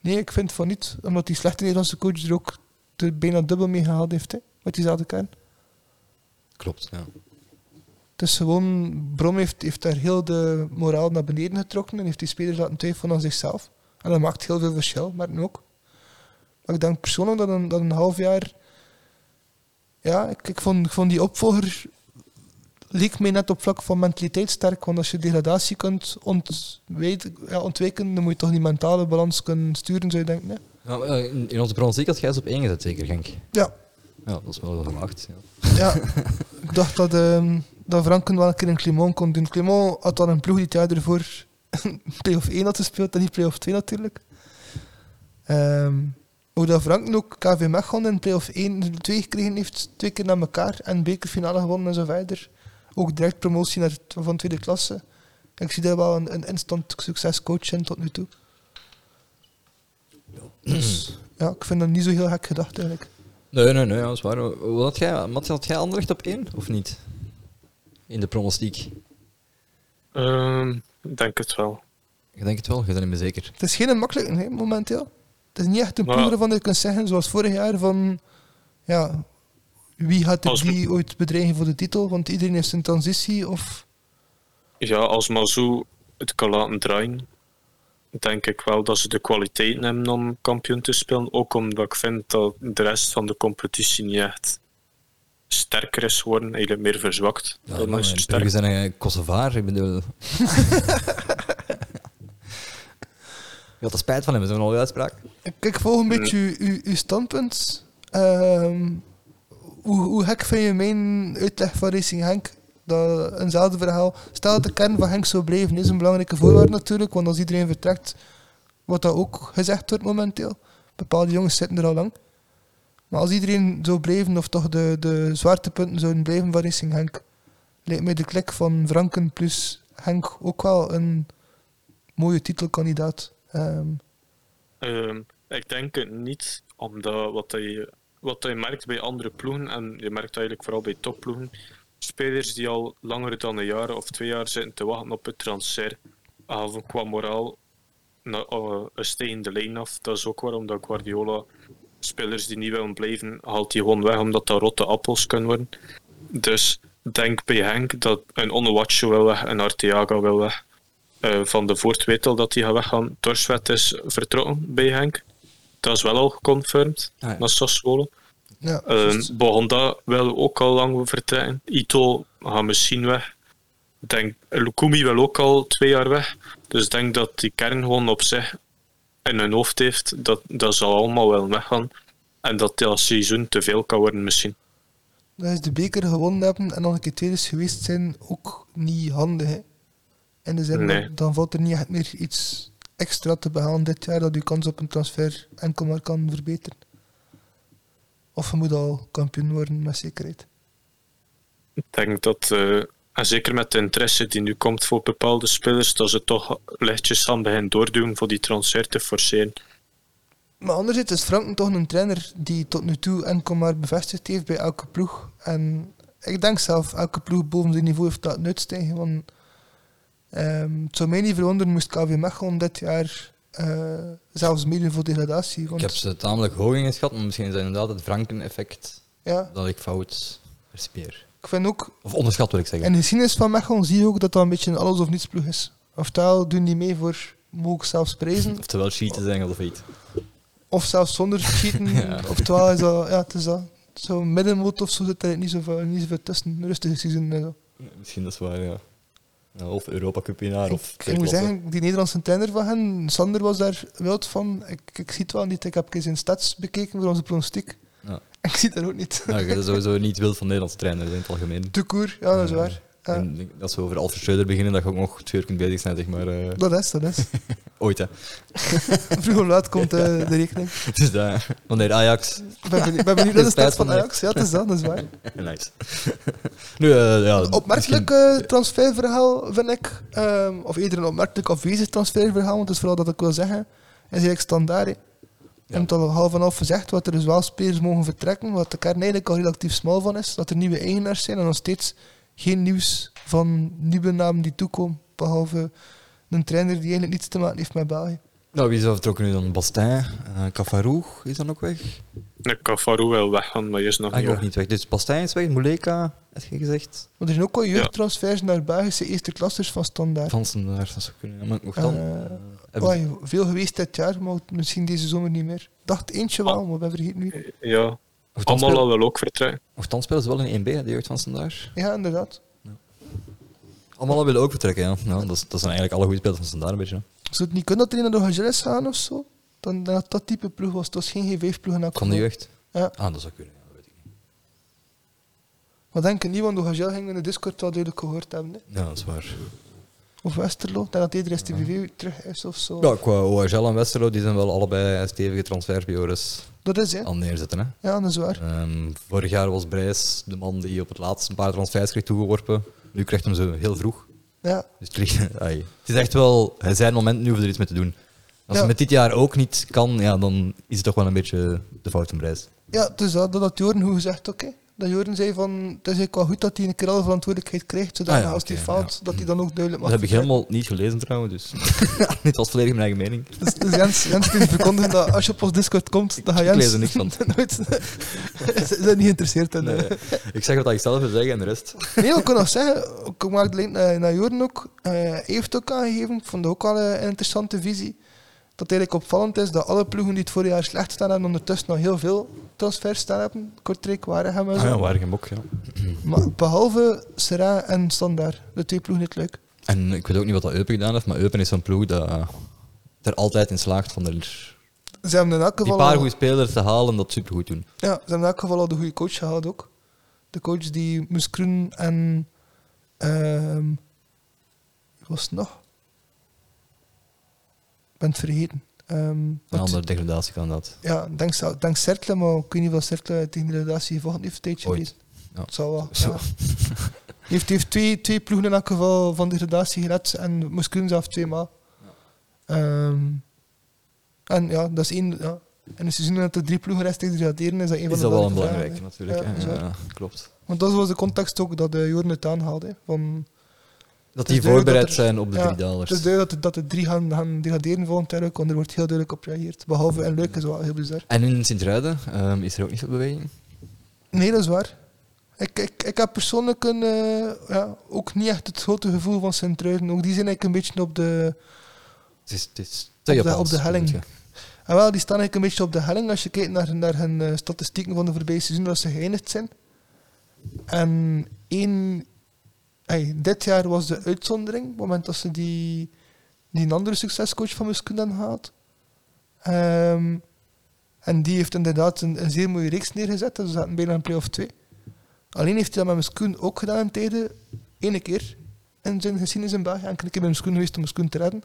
S2: nee, ik vind van niet, omdat die slechte Nederlandse coach er ook de bijna dubbel mee gehaald heeft, hè, met diezelfde kern.
S1: Klopt, ja.
S2: Het is gewoon, Brom heeft, heeft daar heel de moraal naar beneden getrokken en heeft die spelers laten twijfelen aan zichzelf. En dat maakt heel veel verschil, maar nu ook. Maar ik denk persoonlijk dat een, dat een half jaar. Ja, ik, ik, vond, ik vond die opvolger. leek mij net op vlak van mentaliteit sterk. Want als je degradatie kunt ontwijken, ja, ontwijken dan moet je toch die mentale balans kunnen sturen, zou je denken. Hè?
S1: Nou, eh, in, in onze pronostiek had jij ze op één gezet, zeker, Genk?
S2: Ja,
S1: Ja, dat is wel verwacht. Ja.
S2: Ja, ik dacht dat, ehm dat Franken wel een keer een Clement kon doen. Clement had al een ploeg die het jaar ervoor play-off 1 had gespeeld en niet play-off 2 natuurlijk. Ehm, hoe dat Franken ook KV Mechelen in play-off 1 en 2 gekregen heeft, twee keer na elkaar en bekerfinale gewonnen en zo verder. Ook direct promotie naar, het- van tweede klasse. Ik zie daar wel een, een instant succescoach in tot nu toe. Dus ja, ik vind dat niet zo heel gek gedacht eigenlijk.
S1: Nee, nee, nee, ja, dat is waar. Wat had jij, Mats, had jij Anderlecht op één, of niet? In de pronostiek.
S3: Ehm, ik denk het wel.
S1: Ik denk het wel, je bent er niet meer zeker.
S2: Het is geen makkelijke nee, momenteel. Het is niet echt een
S3: Maar-
S2: ploeg waarvan je kunt zeggen, zoals vorig jaar, van ja, wie gaat er
S3: Als-
S2: die ooit bedreigen voor de titel? Want iedereen heeft zijn transitie. Of...
S3: Ja, als Mazou het kan laten draaien, denk ik wel dat ze de kwaliteit hebben om kampioen te spelen. Ook omdat ik vind dat de rest van de competitie niet echt sterker is geworden, eigenlijk meer verzwakt.
S1: Ja,
S3: dan
S1: maar
S3: is er
S1: Brugge
S3: sterk.
S1: zijn een Kosovaar, ik bedoel... Je had er spijt van hem, zijn we al uitspraak?
S2: Ik, ik volg een beetje uw- uw- uw standpunt. Ehm, hoe, hoe gek vind je mijn uitleg van Racing Henk? Dat, eenzelfde verhaal. Stel dat de kern van Henk zou blijven, is een belangrijke voorwaarde natuurlijk. Want als iedereen vertrekt, wat dat ook gezegd wordt momenteel. Bepaalde jongens zitten er al lang. Maar als iedereen zou blijven, of toch de, de zwaartepunten zouden blijven van Racing Henk, lijkt mij de klik van Franken plus Henk ook wel een mooie titelkandidaat. Ehm,
S3: Ehm, ik denk het niet, omdat wat je, wat je merkt bij andere ploegen, en je merkt eigenlijk vooral bij topploegen, spelers die al langer dan een jaar of twee jaar zitten te wachten op het transfer, halen qua moraal na, eh, een stijgende lijn af. Dat is ook waarom dat Guardiola spelers die niet willen blijven, haalt die gewoon weg, omdat dat rotte appels kunnen worden. Dus ik denk bij Henk dat een Onuwachu wil weg, een Arteaga wil weg. Eh, van de Voort weet al dat hij gaat weggaan. Torswet is vertrokken bij Henk. Dat is wel al geconfirmed
S1: Ah, ja.
S3: naar Sassuolo.
S2: ja,
S3: Uh,
S2: juist.
S3: Bohonda wil ook al lang vertrekken. Ito gaat misschien weg. Ik Denk, Lukumi wil ook al twee jaar weg. Dus ik denk dat die kern gewoon op zich in hun hoofd heeft dat, dat ze allemaal wel weggaan. En dat dat seizoen te veel kan worden misschien.
S2: Dat is de beker gewonnen hebben en dan een keer tweede geweest zijn ook niet handig. Hè? In de zin,
S3: Nee.
S2: dat dan valt er niet echt meer iets extra te behalen dit jaar dat je kans op een transfer enkel maar kan verbeteren. Of je moet al kampioen worden met zekerheid.
S3: Ik denk dat eh, En zeker met de interesse die nu komt voor bepaalde spelers, dat ze toch lichtjes gaan beginnen doordoen voor die transfer te forceren.
S2: Maar anderzijds is Franken toch een trainer die tot nu toe enkel maar bevestigd heeft bij elke ploeg. En ik denk zelf, elke ploeg boven zijn niveau heeft laten uitstijgen. Want ehm, het zou mij niet verwonderen moest KV Mechelen dit jaar eh, zelfs meedoen voor degradatie.
S1: Ik
S2: Want,
S1: heb ze tamelijk hoog ingeschat, maar misschien is dat inderdaad het Franken-effect
S2: ja,
S1: dat ik fout verspeer.
S2: ik vind ook,
S1: Of onderschat wil ik zeggen.
S2: in de geschiedenis van Mechelen zie je ook dat dat een beetje een alles of niets ploeg is. Oftewel doen die mee voor mogelijk zelfs prijzen,
S1: Oftewel cheaten zijn of niet.
S2: of zelfs zonder cheaten.
S1: Ja.
S2: Oftewel is dat, ja, het is dat. Zo middenmoot of zo zit er niet zoveel, niet zoveel tussen. eh, Een rustige seizoen en zo.
S1: Misschien dat is waar, ja. Ja, Of Europa Cup winnaar of
S2: Ik moet zeggen, die Nederlandse trainer van hen, Sander was daar wild van. Ik, ik zie het wel niet. Ik heb eens in stats bekeken voor onze pronostiek.
S1: Ja.
S2: Ik zie het daar ook niet.
S1: Nou, je bent sowieso niet wild van Nederlandse trainers in het algemeen.
S2: De koer, ja, dat is
S1: Ja.
S2: waar. Ja.
S1: En als we over Alfred Schreuder beginnen, dat je ook nog twee uur kunt bezig zijn, zeg maar. eh,
S2: Dat is, dat is.
S1: ooit, hè.
S2: Vroeg of laat komt eh, de rekening.
S1: Dus daar, wanneer Ajax...
S2: Ik ben benieuwd, ben benieuwd naar de
S1: Spijt
S2: stats van
S1: van mij.
S2: Ajax. Ja, het is dat, dat is waar.
S1: nice. nu, eh, ja...
S2: Opmerkelijk eh, transferverhaal, vind ik. Ehm, of eerder een opmerkelijk afwezig transferverhaal, want dat is vooral dat ik wil zeggen. Is eigenlijk standaard. hè.
S1: Ja.
S2: Je hebt al half en half gezegd wat er dus wel spelers mogen vertrekken, wat de kern eigenlijk al relatief smal van is. Dat er nieuwe eigenaars zijn en nog steeds geen nieuws van nieuwe namen die toekomen. Behalve een trainer die eigenlijk niets te maken heeft met België.
S1: Nou, wie is er vertrokken nu dan? Bastijn, eh Cafarou is dan ook weg.
S3: Ik kan Faroe wel weggaan, maar hij is nog
S1: Ah,
S3: niet
S1: ook
S3: weg.
S1: niet weg. Dus Bastijn is weg, Muleka, heb je gezegd.
S2: Want er zijn ook al jeugdtransfers naar Belgische eerste klassers van standaard.
S1: Vansen daar, dat zou kunnen. Ja, maar nog dan...
S2: Eh,
S1: eh, hebben
S2: Oei, veel geweest dit jaar, maar misschien deze zomer niet meer. Ik dacht eentje
S1: Ah.
S2: wel, maar ben vergeten nu.
S1: Eh.
S3: Ja,
S1: Nochtans
S3: allemaal
S1: speel-
S3: al wel ook vertrekken.
S1: nochtans spelen ze wel in 1B, hè, de jeugd van Standaard.
S2: Ja, inderdaad.
S1: Allemaal al willen ook vertrekken, ja. Nou, dat, is- dat zijn eigenlijk alle goede spelers van Standaard, een beetje. hè.
S2: Zou het niet kunnen dat er een naar de Angeles gaan of zo? Dan dat dat type ploeg was. Het was geen G5-ploeg en
S1: Van de jeugd.
S2: Ja,
S1: Ah, dat zou kunnen, ja, dat weet ik niet.
S2: maar denk ik niet, want de Hagel gingen we in de Discord wel duidelijk gehoord hebben. Hè.
S1: Ja, dat is waar.
S2: Of Westerlo, ik denk dat iedereen STVV terug is of zo.
S1: Ja, qua OHL en Westerlo, die zijn wel allebei stevige transferbioris
S2: Dat is hè?
S1: aan neerzetten, hè.
S2: Ja, dat is waar.
S1: Ehm, vorig jaar was Brijs de man die op het laatst een paar transfers kreeg toegeworpen. Nu krijgt hem ze heel vroeg.
S2: Ja,
S1: Dus het ligt- ai. het is echt wel het zijn moment nu om er iets mee te doen. Als
S2: Ja.
S1: het met dit jaar ook niet kan, ja, dan is het toch wel een beetje de fout van Brijs.
S2: ja dus dat, dat had Joren goed gezegd ook. Hè. Dat Joren zei van, het is eigenlijk wel goed dat hij een keer alle verantwoordelijkheid krijgt, zodat
S1: Ah ja,
S2: als hij
S1: oké,
S2: faalt, dat hij dan ook duidelijk
S1: Dat
S2: mag.
S1: heb ik helemaal niet gelezen trouwens, dus dit was volledig mijn eigen mening.
S2: Dus, dus Jens, Jens kun je verkondigen dat als je op ons Discord komt, dan ga Jens...
S1: Ik lees er niks van.
S2: Nooit. Ze zijn niet geïnteresseerd in...
S1: Nee,
S2: eh,
S1: ik zeg wat ik zelf wil zeggen en de rest.
S2: Nee, ik kan nog zeggen, ik maak de link naar, naar Joren ook. Eh, hij heeft ook aangegeven, ik vond dat ook wel eh, een interessante visie. Dat eigenlijk opvallend is dat alle ploegen die het vorig jaar slecht staan hebben, ondertussen nog heel veel transfers staan hebben. Kortrijk, Waregem en zo.
S1: Waregem Ah, ja.
S2: Maar behalve Serra en Standaard, de twee ploegen niet leuk.
S1: En ik weet ook niet wat dat Eupen gedaan heeft, maar Eupen is zo'n ploeg dat eh, er altijd in slaagt van er
S2: Ze hebben in elk
S1: die
S2: geval,
S1: paar
S2: al,
S1: goede spelers te halen en dat supergoed doen.
S2: ja, ze hebben in elk geval al de goede coach gehad ook. De coach die moest Kroen en... ehm, wie was het nog? Ik ben het vergeten. Ehm,
S1: Een
S2: wat-
S1: andere degradatie kan dat.
S2: Ja, dank, Sa- dank Cercle, maar ik weet niet of dat Cercle tegen de relatie gevochten heeft een tijdje
S1: Ooit.
S2: geleden.
S1: Ja.
S2: Het zal wel.
S1: Zo.
S2: Ja. heeft heeft twee, twee ploegen in elk geval van de gradatie gered en moest kunnen zelf tweemaal. Ehm, en ja, dat is één. Ja. In een seizoen dat er drie ploegen rechtstreeks degraderen, is dat één van
S1: Is
S2: de
S1: dat wel een
S2: belangrijke
S1: belangrijke
S2: vragen, hè.
S1: natuurlijk.
S2: Ja,
S1: hè.
S2: dat is
S1: Ja,
S2: waar.
S1: klopt.
S2: Want dat was de context ook dat de Jorn het aanhaalde. hè, Van,
S1: Dat
S2: is
S1: die
S2: duidelijk
S1: voorbereid
S2: dat er-
S1: zijn op de
S2: ja,
S1: drie
S2: het
S1: dalers.
S2: is duidelijk dat, dat de drie gaan, gaan degraderen volgend jaar ook, want er wordt heel duidelijk op gereageerd. Behalve en leuk is wel heel bizar.
S1: En in Sint-Ruiden ehm, is er ook niet veel beweging.
S2: Nee, dat is waar. Ik, ik, ik heb persoonlijk een, eh, ja, ook niet echt het grote gevoel van Sint-Truiden. Ook die zijn eigenlijk een beetje op de...
S1: Het is, het is te
S2: de-
S1: Japans,
S2: op de helling.
S1: moet je.
S2: En ah, wel, die staan eigenlijk een beetje op de helling als je kijkt naar, naar hun eh, statistieken van de voorbije seizoen dat ze geëindigd zijn. En één... ey, dit jaar was de uitzondering, op het moment dat ze die, die andere succescoach van Muskundan had. Ehm, en die heeft inderdaad een, een zeer mooie reeks neergezet. Dus ze zaten bijna een play-off 2. Alleen heeft hij dat met Muskoen ook gedaan in tijden. Ene keer in zijn geschiedenis in België. Enkele keer bij Muskoen geweest om Muskoen te redden.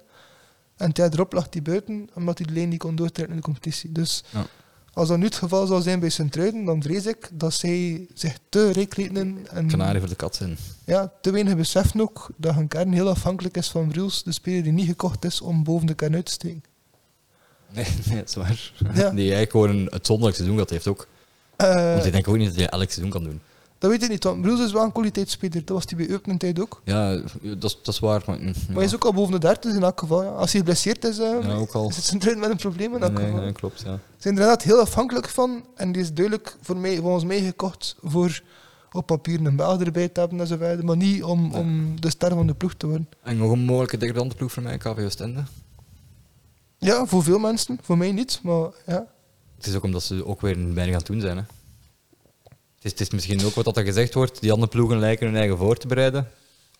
S2: En het jaar erop lag hij buiten, omdat hij de lijn niet kon doortrekken in de competitie. Dus
S1: Ja.
S2: Als dat nu het geval zou zijn bij Sint-Truiden, dan vrees ik dat zij zich te rijk rekenen en
S1: Kanarie voor de kat zijn.
S2: ja, te weinig beseffen ook dat hun kern heel afhankelijk is van Bruls, de speler die niet gekocht is om boven de kern uit te steken.
S1: Nee, nee, dat is waar.
S2: Ja.
S1: Die eigenlijk gewoon een uitzonderlijk seizoen gehad heeft ook.
S2: Eh,
S1: Want ik denk ook niet dat je elk seizoen kan doen.
S2: dat weet ik niet, want Bruls is wel een kwaliteitsspeler. Dat was hij bij Eupen een tijd ook.
S1: Ja, dat is, dat is waar. Maar, mm,
S2: Maar hij is ook al boven de 30 in elk geval. Ja. Als hij geblesseerd is, eh,
S1: ja, ook al.
S2: zit Sint-Truiden met een probleem in elk
S1: Nee,
S2: geval.
S1: nee, klopt, ja.
S2: zijn er inderdaad heel afhankelijk van. En die is duidelijk voor mij, volgens mij gekocht voor op papier een Belg erbij te hebben en zo verder. Maar niet om,
S1: Nee.
S2: om de ster van de ploeg te worden.
S1: En nog een mogelijke degradantenploeg voor mij, KV Oostende.
S2: Ja, voor veel mensen. Voor mij niet, maar ja.
S1: Het is ook omdat ze ook weer weinig aan het doen zijn. Hè. Het, is, het is misschien ook wat dat er gezegd wordt. Die andere ploegen lijken hun eigen voor te bereiden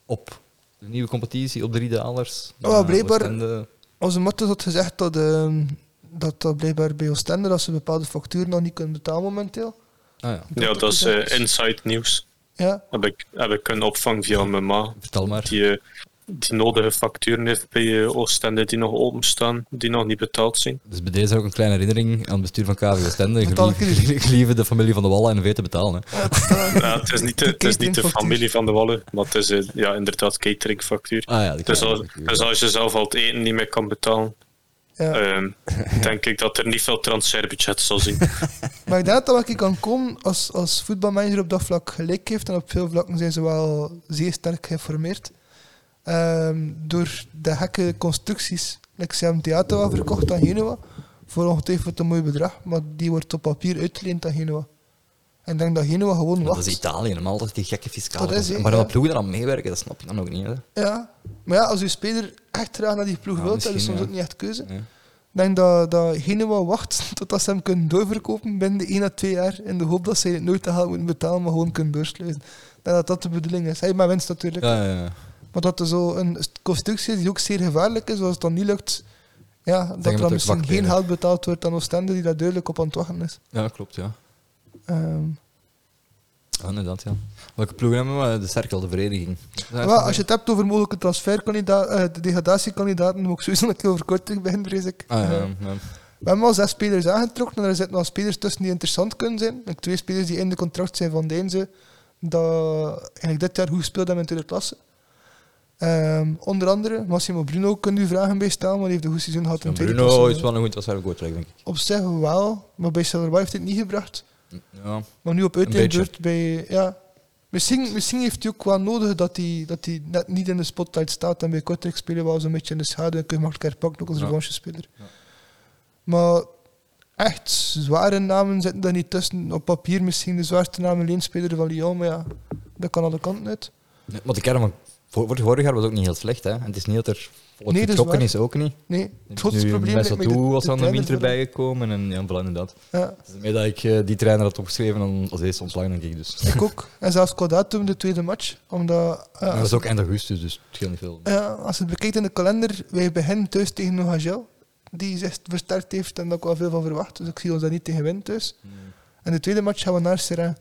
S1: op de nieuwe competitie, op de drie dalers.
S2: Oh,
S1: Eh,
S2: blijkbaar-
S1: Oostende.
S2: Onze Martens had gezegd dat, ehm, dat dat blijkbaar bij Oostende, dat ze bepaalde facturen nog niet kunnen betalen momenteel.
S1: Ah, ja.
S3: Ja, dat is eh, inside nieuws.
S2: Ja,
S3: Heb ik, heb ik een opvang via mijn ma,
S1: Vertel maar.
S3: die eh, die nodige facturen heeft bij eh, Oostende die nog openstaan, die nog niet betaald zijn.
S1: Dus bij deze ook een kleine herinnering aan het bestuur van KV Oostende.
S2: Betaal ik jullie?
S1: Gelie- Gelieve de familie van de Wallen en weet te betalen. Hè.
S3: Ja, het is niet de, het is niet de
S2: Cateringfactuur.
S3: familie van de Wallen, maar het is eh, ja, inderdaad cateringfactuur.
S1: Ah ja, die
S3: Dus
S1: kan
S3: als,
S1: ik
S3: dus als je zelf al het eten niet meer kan betalen,
S2: ja.
S3: ehm, denk ik dat er niet veel transferbudget zal zijn.
S2: Maar ik denk dat wat ik kan komen als, als voetbalmanager op dat vlak gelijk heeft. En op veel vlakken zijn ze wel zeer sterk geïnformeerd. Ehm, door de gekke constructies. Like ze hebben Theater wel verkocht aan Genoa. Voor ongetwijfeld een mooi bedrag. Maar die wordt op papier uitgeleend aan Genoa. En ik denk dat Genoa gewoon
S1: Dat is
S2: wacht.
S1: Italië, normaal altijd die gekke fiscale.
S2: Dat is, hè,
S1: maar dat
S2: ja.
S1: ploegen daar aan meewerken, dat snap je dan ook niet. Hè.
S2: Ja. Maar ja, als je speler echt graag naar die ploeg
S1: Ja,
S2: wilt, dat is
S1: misschien,
S2: soms
S1: ja.
S2: ook niet echt keuze.
S1: Ja.
S2: Ik denk dat, dat Genoa wacht totdat ze hem kunnen doorverkopen binnen de 1 à 2 jaar. In de hoop dat ze het nooit te gaan moeten betalen, maar gewoon kunnen doorsluizen. Ik denk dat dat de bedoeling is. Hij maar winst natuurlijk.
S1: Ja, ja, ja.
S2: Maar dat er zo een constructie is die ook zeer gevaarlijk is. Als het dan niet lukt, ja, dat
S1: dat
S2: er
S1: ook
S2: dan misschien
S1: zwak
S2: geen
S1: benen.
S2: geld betaald wordt aan Oostende, die daar duidelijk op aan het wachten is.
S1: ja, klopt, ja.
S2: Ehm,
S1: Ja, Ah, inderdaad, ja. Welke ploegen hebben we? De cirkel, de vereniging.
S2: Ah,
S1: Ah,
S2: wel, als je het hebt over mogelijke transferkandidaten, de degradatiekandidaten, moet ik sowieso een keer over kort terug beginnen, vrees ik.
S1: Ah, ja,
S2: Ehm,
S1: ja, ja.
S2: We hebben al zes spelers aangetrokken en er zitten al spelers tussen die interessant kunnen zijn. Like twee spelers die in de contract zijn van Deinze, dat eigenlijk dit jaar goed gespeeld hebben in de tweede klasse. Ehm, onder andere Massimo Bruno kunt u vragen bij staan, maar die heeft een goed seizoen gehad in de tweede
S1: Bruno
S2: klasse.
S1: is wel een goed transfer voor Kortrijk, denk ik.
S2: Op zich wel, maar bij Charleroi heeft hij het niet gebracht.
S1: Ja.
S2: Maar nu op
S1: beetje.
S2: uitleenbeurt bij... Ja, misschien, misschien heeft hij ook wel nodig dat hij, dat hij net niet in de spotlight staat. En bij Kortrijk spelen we wel zo'n beetje in de schaduw. En kun je makkelijker pakken, ook als
S1: Ja.
S2: revanchespeler.
S1: Ja.
S2: Maar echt zware namen zitten daar niet tussen. Op papier misschien de zwaarste namen leenspeler van Lyon. Maar ja, dat kan alle kanten uit.
S1: Nee, Maar de kern van voor, voor vorig jaar was ook niet heel slecht, hè. En het is niet dat er volop
S2: Nee, dat is
S1: getrokken
S2: waar.
S1: is, ook niet.
S2: Nee, het grootste
S1: Nu
S2: probleem lijkt mij de-
S1: Messatou was
S2: de
S1: aan de
S2: trainer
S1: winter bijgekomen en ja, vooral inderdaad.
S2: van- Ja,
S1: Het is meer dat ik eh, die trainer had opgeschreven dan als eerste ontslagen, denk ik dus.
S2: ik ook. En zelfs Kodaat toen de tweede match. Omdat... ja,
S1: Maar dat is ook eind augustus, dus het gaat niet veel.
S2: Ja, Eh, als je het bekijkt in de kalender, wij beginnen thuis tegen Nogagel, die zich versterkt heeft en daar ook wel veel van verwacht. Dus ik zie ons daar niet tegen winnen thuis. En de tweede match gaan we naar Serrain.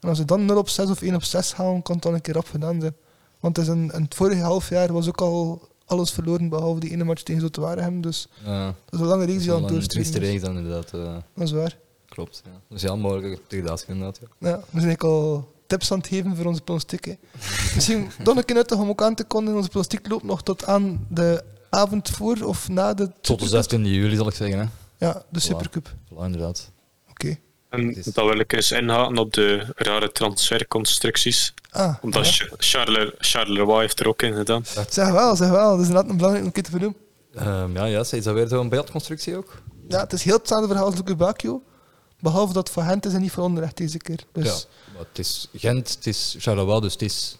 S2: En als we dan 0 op 6 of 1 op 6 halen, kan het dan een keer rap gedaan zijn. Want het, is een, in het vorige half jaar was ook al alles verloren, behalve die ene match tegen Zotewaregem. Dus
S1: Ja, dat
S2: dat is een lange
S1: is
S2: reeks die
S1: wel
S2: aan het
S1: een trieste
S2: doorsteken is.
S1: reeks dan inderdaad. eh,
S2: Dat is waar.
S1: klopt. Ja. Dus ja, mogelijke degradatie inderdaad. Ja.
S2: Ja, we zijn eigenlijk al tips aan het geven voor onze pronostiek. hè. Misschien toch een keer nuttig om ook aan te kondigen. Onze pronostiek loopt nog tot aan de avond voor of na de...
S1: Tot de 16 juli zal ik zeggen. Hè.
S2: Ja, de Supercup.
S1: Voilà, inderdaad.
S2: Oké.
S3: En
S1: Het is-
S3: dat wil ik eens inhaken op de rare transferconstructies.
S2: Ah,
S3: Omdat
S2: ja.
S3: Cha- Charler- Charleroi heeft er ook in gedaan.
S2: Zeg wel, zeg wel. Dat is inderdaad een belangrijk om een keer te vernoemen.
S1: Ehm, ja, ja, is dat weer zo'n beeldconstructie ook?
S2: Ja, het is heel hetzelfde verhaal als Luke Bakio. Behalve dat het van Gent is en niet van onderrecht deze keer. Dus
S1: Ja, maar het is Gent, het is Charleroi, dus het is...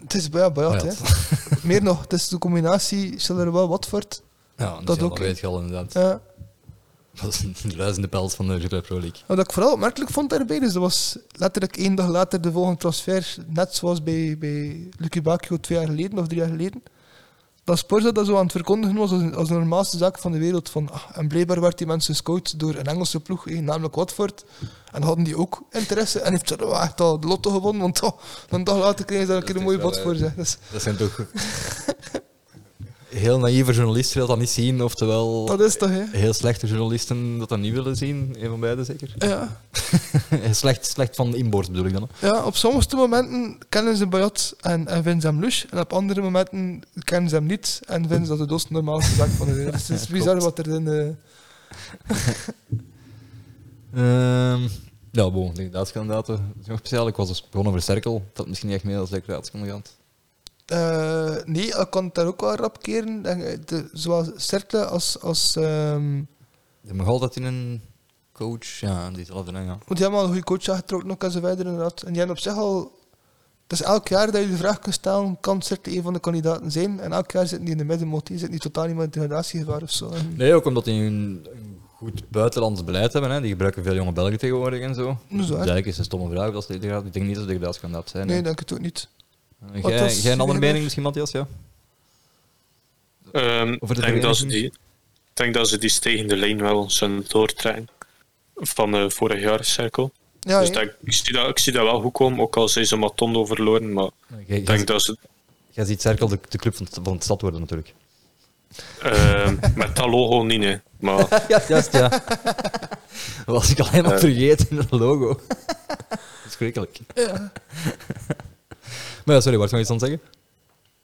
S2: het is ja, Bayat,
S1: Bayat.
S2: hè. Meer nog, het is de combinatie Charleroi Watford. eh,
S1: Ja, dat,
S2: Dat
S1: is ook.
S2: ook,
S1: weet je al inderdaad.
S2: Ja.
S1: Dat is een ruisende pels van de Jupiler Pro League.
S2: Wat Nou, ik vooral opmerkelijk vond daarbij, dus dat was letterlijk één dag later de volgende transfer, net zoals bij, bij Lucky Bakio twee jaar geleden of drie jaar geleden, dat Sporza dat zo aan het verkondigen was als, een- als de normaalste zaak van de wereld. Van, ah, en blijkbaar werd die mensen gescout door een Engelse ploeg, eh, namelijk Watford, en hadden die ook interesse en heeft er echt al de lotto gewonnen, want oh, een dag later kregen ze daar een
S1: Dat
S2: keer een
S1: is eh,
S2: mooie
S1: wel, eh,
S2: bod voor. Zeg. Dus,
S1: Dat zijn toch... heel naïeve journalist wil dat niet zien, oftewel
S2: Dat is toch, hè?
S1: heel slechte journalisten dat dat niet willen zien. Een van beide zeker.
S2: Ja.
S1: slecht, slecht van inboord bedoel ik dan. hè.
S2: ja, op sommige momenten kennen ze Bayat en, en vinden ze hem lush. En op andere momenten kennen ze hem niet en vinden ze dat de doos de normaalste zaak van de wereld. is. Het is bizar wat er in... eh,
S1: Ehm ja, bon, die daadskandidaten zijn nog eh, speciaal. Ik was dus begonnen over cirkel. Dat had misschien niet echt mee als decoratiekandidaat.
S2: Eh, nee, ik kan het daar ook wel rap keren. En, eh, de- zowel Cercle als. als ehm,
S1: Je mag altijd in een coach, ja, diezelfde, hè, ja.
S2: want die hebben al een goede coach aangetrokken ook en zo verder inderdaad. En die hebben op zich al. Het is elk jaar dat je de vraag kunt stellen: kan Cercle een van de kandidaten zijn? En elk jaar zitten die in de middenmoot. Die zitten die totaal niet meer in degradatiegevaar of zo. En
S1: Nee, ook omdat die een een goed buitenlands beleid hebben. Hè. Die gebruiken veel jonge Belgen tegenwoordig en zo. Dus
S2: Dat is waar.
S1: eigenlijk is het een stomme vraag. of Dat ze degradat- ik denk niet dat ze degradatiekandidaat zijn.
S2: nee,
S1: hè. Eh,
S2: denk het ook niet.
S1: Jij-
S2: Wat was-
S1: Jij een andere
S2: wie-
S1: mening misschien, Matthias? Ja?
S3: Ehm,
S1: Over de
S3: ik denk dat ze die,
S1: vereniging?
S3: ik denk dat ze die stegende lijn wel zullen doortrekken van eh, vorig jaar cirkel.
S2: Ja,
S3: dus
S2: hè?
S3: dat, ik, zie dat, ik zie dat wel goed komen, ook al zijn ze Matondo verloren, maar ik denk dat ze
S1: Jij ziet Cerkel de, de club van, het- van de stad worden natuurlijk.
S3: ehm, met dat logo niet, hè. maar
S1: Ja, juist, ja. Was ik al helemaal
S3: Eh.
S1: vergeten in het logo. Verschrikkelijk.
S2: Ja.
S1: Maar ja, sorry, Bart, nog iets aan het zeggen?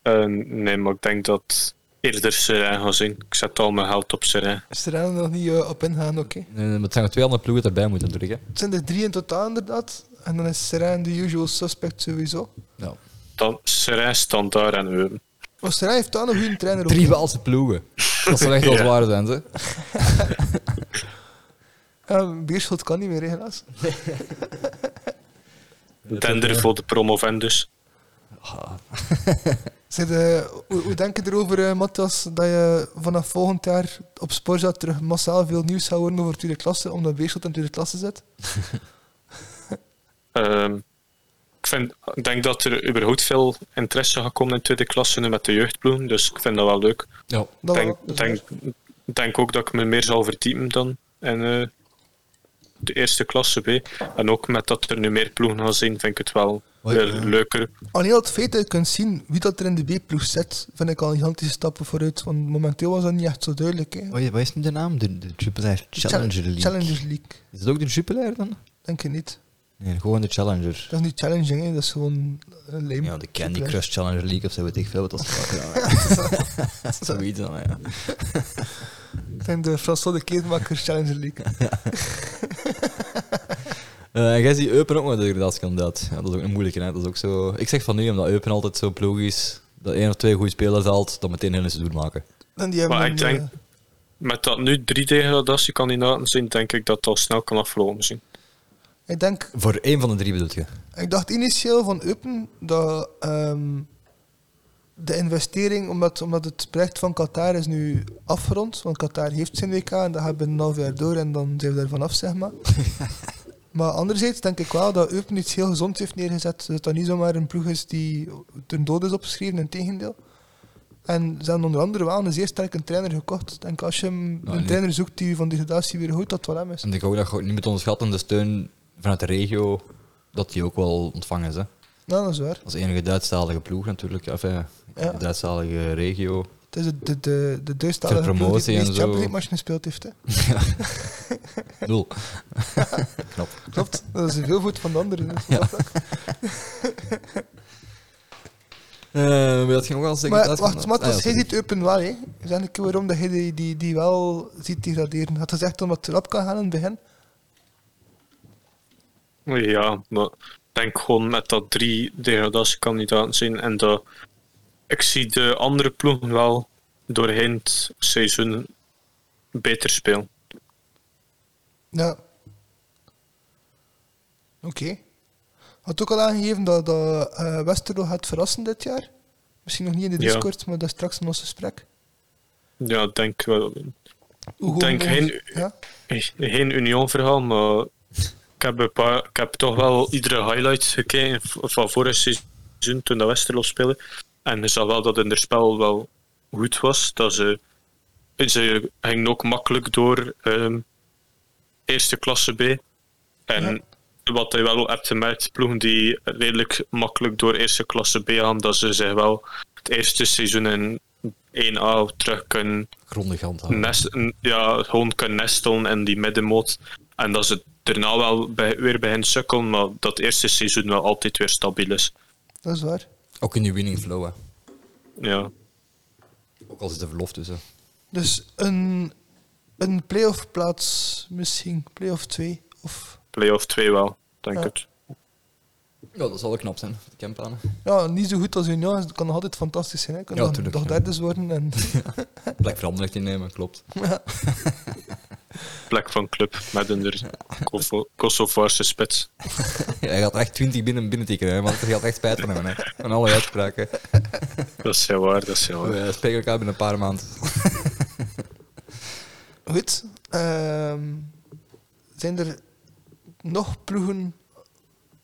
S3: eh, nee, maar ik denk dat eerder Serain gaan zien. Ik zet al mijn geld op Serain.
S2: Is er eigenlijk nog niet eh, op ingaan, oké.
S1: Nee, nee, maar het zijn nog twee andere ploegen die erbij moeten natuurlijk. Hè.
S2: Het zijn er drie in totaal inderdaad. En dan is Serijn de usual suspect sowieso.
S1: Nou,
S3: Dan Serain stand daar en eh, Eupen.
S2: Maar Serijn heeft dan een goede trainer ook.
S1: drie Waalse ploegen. Dat zou echt wel
S3: Ja.
S1: zwaar zijn, ze.
S2: Ja, Beerschot kan niet meer, hè, helaas.
S3: Tender voor de dus. promovendus.
S2: Zeg, eh, hoe, hoe denk je erover, eh, Matthias, dat je vanaf volgend jaar op Sporza terug massaal veel nieuws gaat horen over tweede klasse, omdat Beerschot in tweede klasse zit?
S3: Ehm, ik, vind, ik denk dat er überhaupt veel interesse gaat komen in tweede klasse nu met de jeugdploegen, dus ik vind dat wel leuk.
S1: Ja.
S2: Dat
S3: denk,
S2: wel, dat is
S3: denk,
S2: waar.
S3: denk ook dat ik me meer zal verdiepen dan in eh, de eerste klasse B. En ook met dat er nu meer ploegen gaan zijn, vind ik het wel
S1: Hoi.
S3: weer leuker.
S2: Alleen al het feit dat je kunt zien wie dat er in de B-ploeg zit, vind ik al een gigantische stappen vooruit, want momenteel was dat niet echt zo duidelijk. Hè.
S1: Wat is- wat is nu de naam? De, de Jupiler Oh, Challenger League.
S2: Challengers League,
S1: Is het ook de Jupiler dan?
S2: denk je niet.
S1: Nee, gewoon de Challenger.
S2: Dat is niet challenging, hè. dat is gewoon eh, lame.
S1: Ja, de Candy
S2: Super.
S1: Crush Challenger League of zo weet ik veel wat dat is. Ja, Zoiets dan, ja.
S2: Dat zijn de François de Kleedmakers Challenger League.
S1: Eh, en jij ziet Eupen ook met de degradatiekandidaat. Ja, dat is ook een moeilijke, hè. Dat is ook zo... Ik zeg van nu, omdat Eupen altijd zo ploeg is, dat één of twee goede spelers haalt, dan meteen heel seizoen maken.
S2: En die hebben
S3: Maar
S2: een,
S3: ik denk,
S2: eh,
S3: met dat nu drie degradatiekandidaten zijn, denk ik dat het al snel kan aflopen zijn.
S2: eh, ik denk
S1: Voor één van de drie bedoel je?
S2: Ik dacht initieel van Eupen dat ehm, de investering, omdat, omdat het project van Qatar is nu afgerond, want Qatar heeft zijn WK en dat gaat binnen een half jaar door en dan zijn we daar vanaf, zeg maar. maar anderzijds denk ik wel dat Eupen iets heel gezond heeft neergezet, dat dat niet zomaar een ploeg is die ten dood is opgeschreven, in tegendeel. En ze hebben onder andere wel een zeer sterke trainer gekocht. Ik denk als je hem-
S1: Nou,
S2: een
S1: nu-
S2: trainer zoekt die van degradatie weer goed, dat het wel hem is.
S1: En Dus ik ook dat je niet moet onderschatten, de steun vanuit de regio, dat die ook wel ontvangen is. Hè.
S2: Nou, dat is waar.
S1: Als enige Duitsstalige ploeg natuurlijk, of ja,
S2: Ja.
S1: Duitsstalige regio.
S2: Het is de, de, de, de
S1: Ter
S2: Duitsstalige ploeg die het
S1: promotie en
S2: meest
S1: zo.
S2: Champions League matchen gespeeld heeft. Hè.
S1: Nul. Knap.
S2: Klopt, dat is een veelvoet van de anderen. dus.
S1: Eh, maar dat ging ook al zeggen.
S2: Maar wacht, Matthias, jij
S1: Ah, sorry.
S2: ziet Eupen wel, hè? Zeg een keer waarom dat hij die, die, die wel ziet degraderen. Had gezegd omdat het erop kan gaan in het begin.
S3: Ja, maar ik denk gewoon met dat drie degradatiekandidaten zijn en dat ik zie de andere ploegen wel doorheen het seizoen beter spelen.
S2: Ja. Oké. Had ook al aangegeven dat, dat eh, Westerlo gaat verrassen dit jaar. Misschien nog niet in de
S3: Ja.
S2: Discord, maar dat is straks in ons gesprek.
S3: Ja, ik denk wel
S2: Hoe
S3: Ik denk
S2: gewoon-
S3: geen-
S2: Ja?
S3: geen Union-verhaal, maar ik heb, een paar, ik heb toch wel iedere highlight gekeken v- van vorig seizoen toen de Westerlo speelde. En je zag wel dat in het spel wel goed was. Dat ze, ze gingen ook makkelijk door ehm, eerste klasse B. En wat je wel hebt gemerkt, ploegen die redelijk makkelijk door eerste klasse B gaan, dat ze zich wel het eerste seizoen in 1A terug kunnen
S1: Grondig handhaven.
S3: nest, n- ja, gewoon kunnen nestelen in die middenmoot. En dat ze daarna wel bij, weer begint sukkelen, maar dat eerste seizoen wel altijd weer stabiel is.
S2: Dat is waar.
S1: Ook in die winning flow, hè.
S3: Ja.
S1: Ook al is de verlof tussen.
S2: Dus een, een playoff plaats misschien. Playoff 2. Of,
S3: Playoff 2 wel, denk
S2: Ja.
S3: het.
S1: Ja, dat zal wel knap zijn, de campanen.
S2: ja, niet zo goed als Union. Het kan nog altijd fantastisch zijn. Hè. Kan
S1: Ja,
S2: nog,
S1: tuurlijk,
S2: nog
S1: ja.
S2: derdes worden. En,
S1: Plek veranderd innemen, klopt.
S3: Plek van club met een er- Kovo- Kosovaarse spits.
S1: Hij gaat er echt 20 binnen binnen tikken, hè, want hij gaat echt spijt van hebben. Hè. Van alle uitspraken.
S3: Dat is heel waar, dat is heel waar.
S1: We spreken elkaar binnen een paar maanden.
S2: goed. Ehm, zijn er nog ploegen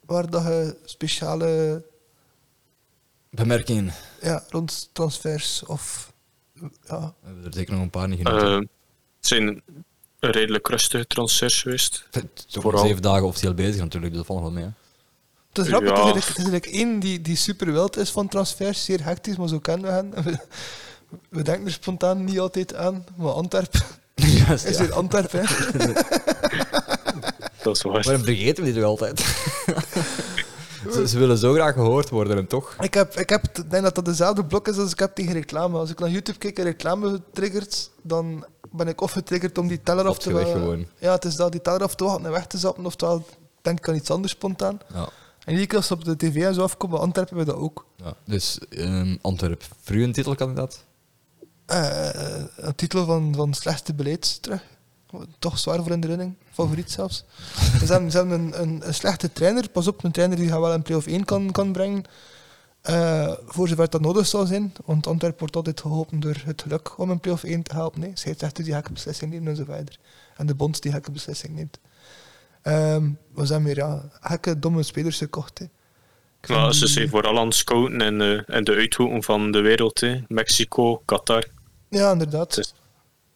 S2: waar dat je speciale
S1: Bemerkingen.
S2: ja, rond transfers of ja,
S1: We hebben er zeker nog een paar niet genoemd.
S3: Eh, het zijn redelijk rustige transfers geweest.
S1: Het is ook nog
S3: vooral-
S1: zeven dagen officieel bezig natuurlijk, dus dat valt nog wel mee. hè.
S2: Het is grappig,
S3: Ja.
S2: het is eigenlijk- het is eigenlijk één die, die super wild is van transfers, zeer hectisch, maar zo kennen we hen. En We, we denken er spontaan niet altijd aan, maar Antwerpen
S1: Juist,
S2: is
S1: ja.
S2: weer Antwerpen. hè.
S3: Dat is waar.
S1: Waarom vergeten we dit wel altijd? ze, ze willen zo graag gehoord worden en toch?
S2: Ik, heb, ik heb, t- ik denk dat dat dezelfde blok is als ik heb tegen reclame. Als ik naar YouTube kijk en reclame triggert, dan ben ik of getriggerd om die teller af
S1: Klopt
S2: te
S1: je weg
S2: wa-
S1: gewoon.
S2: Ja, het is dat, die teller af te wachten en weg te zappen, oftewel denk ik aan iets anders spontaan.
S1: Ja.
S2: En iedere keer als ze op de tv en zo afkomen, bij Antwerpen hebben we dat ook.
S1: ja. Dus ehm Antwerp, voor u een titelkandidaat?
S2: Eh, een titel van, van slechtste beleid terug. Toch zwaar voor in de running. Favoriet zelfs. Dus ze hebben, ze hebben een, een, een slechte trainer. Pas op, een trainer die gaat wel een play-off 1 kan, kan brengen. Eh, voor zover dat nodig zal zijn. Want Antwerpen wordt altijd geholpen door het geluk om een play-off 1 te helpen. Nee, scheidsrechter die gekke beslissing neemt en zo verder. En de bond die gekke beslissing neemt. Ehm, we zijn weer ja, gekke, domme spelers gekocht. hè. Ik vind
S3: Maar ze
S2: die-
S3: zijn vooral aan het scouten in, eh, in de uithoeken van de wereld. hè. Mexico, Qatar.
S2: Ja, inderdaad.
S3: Het is,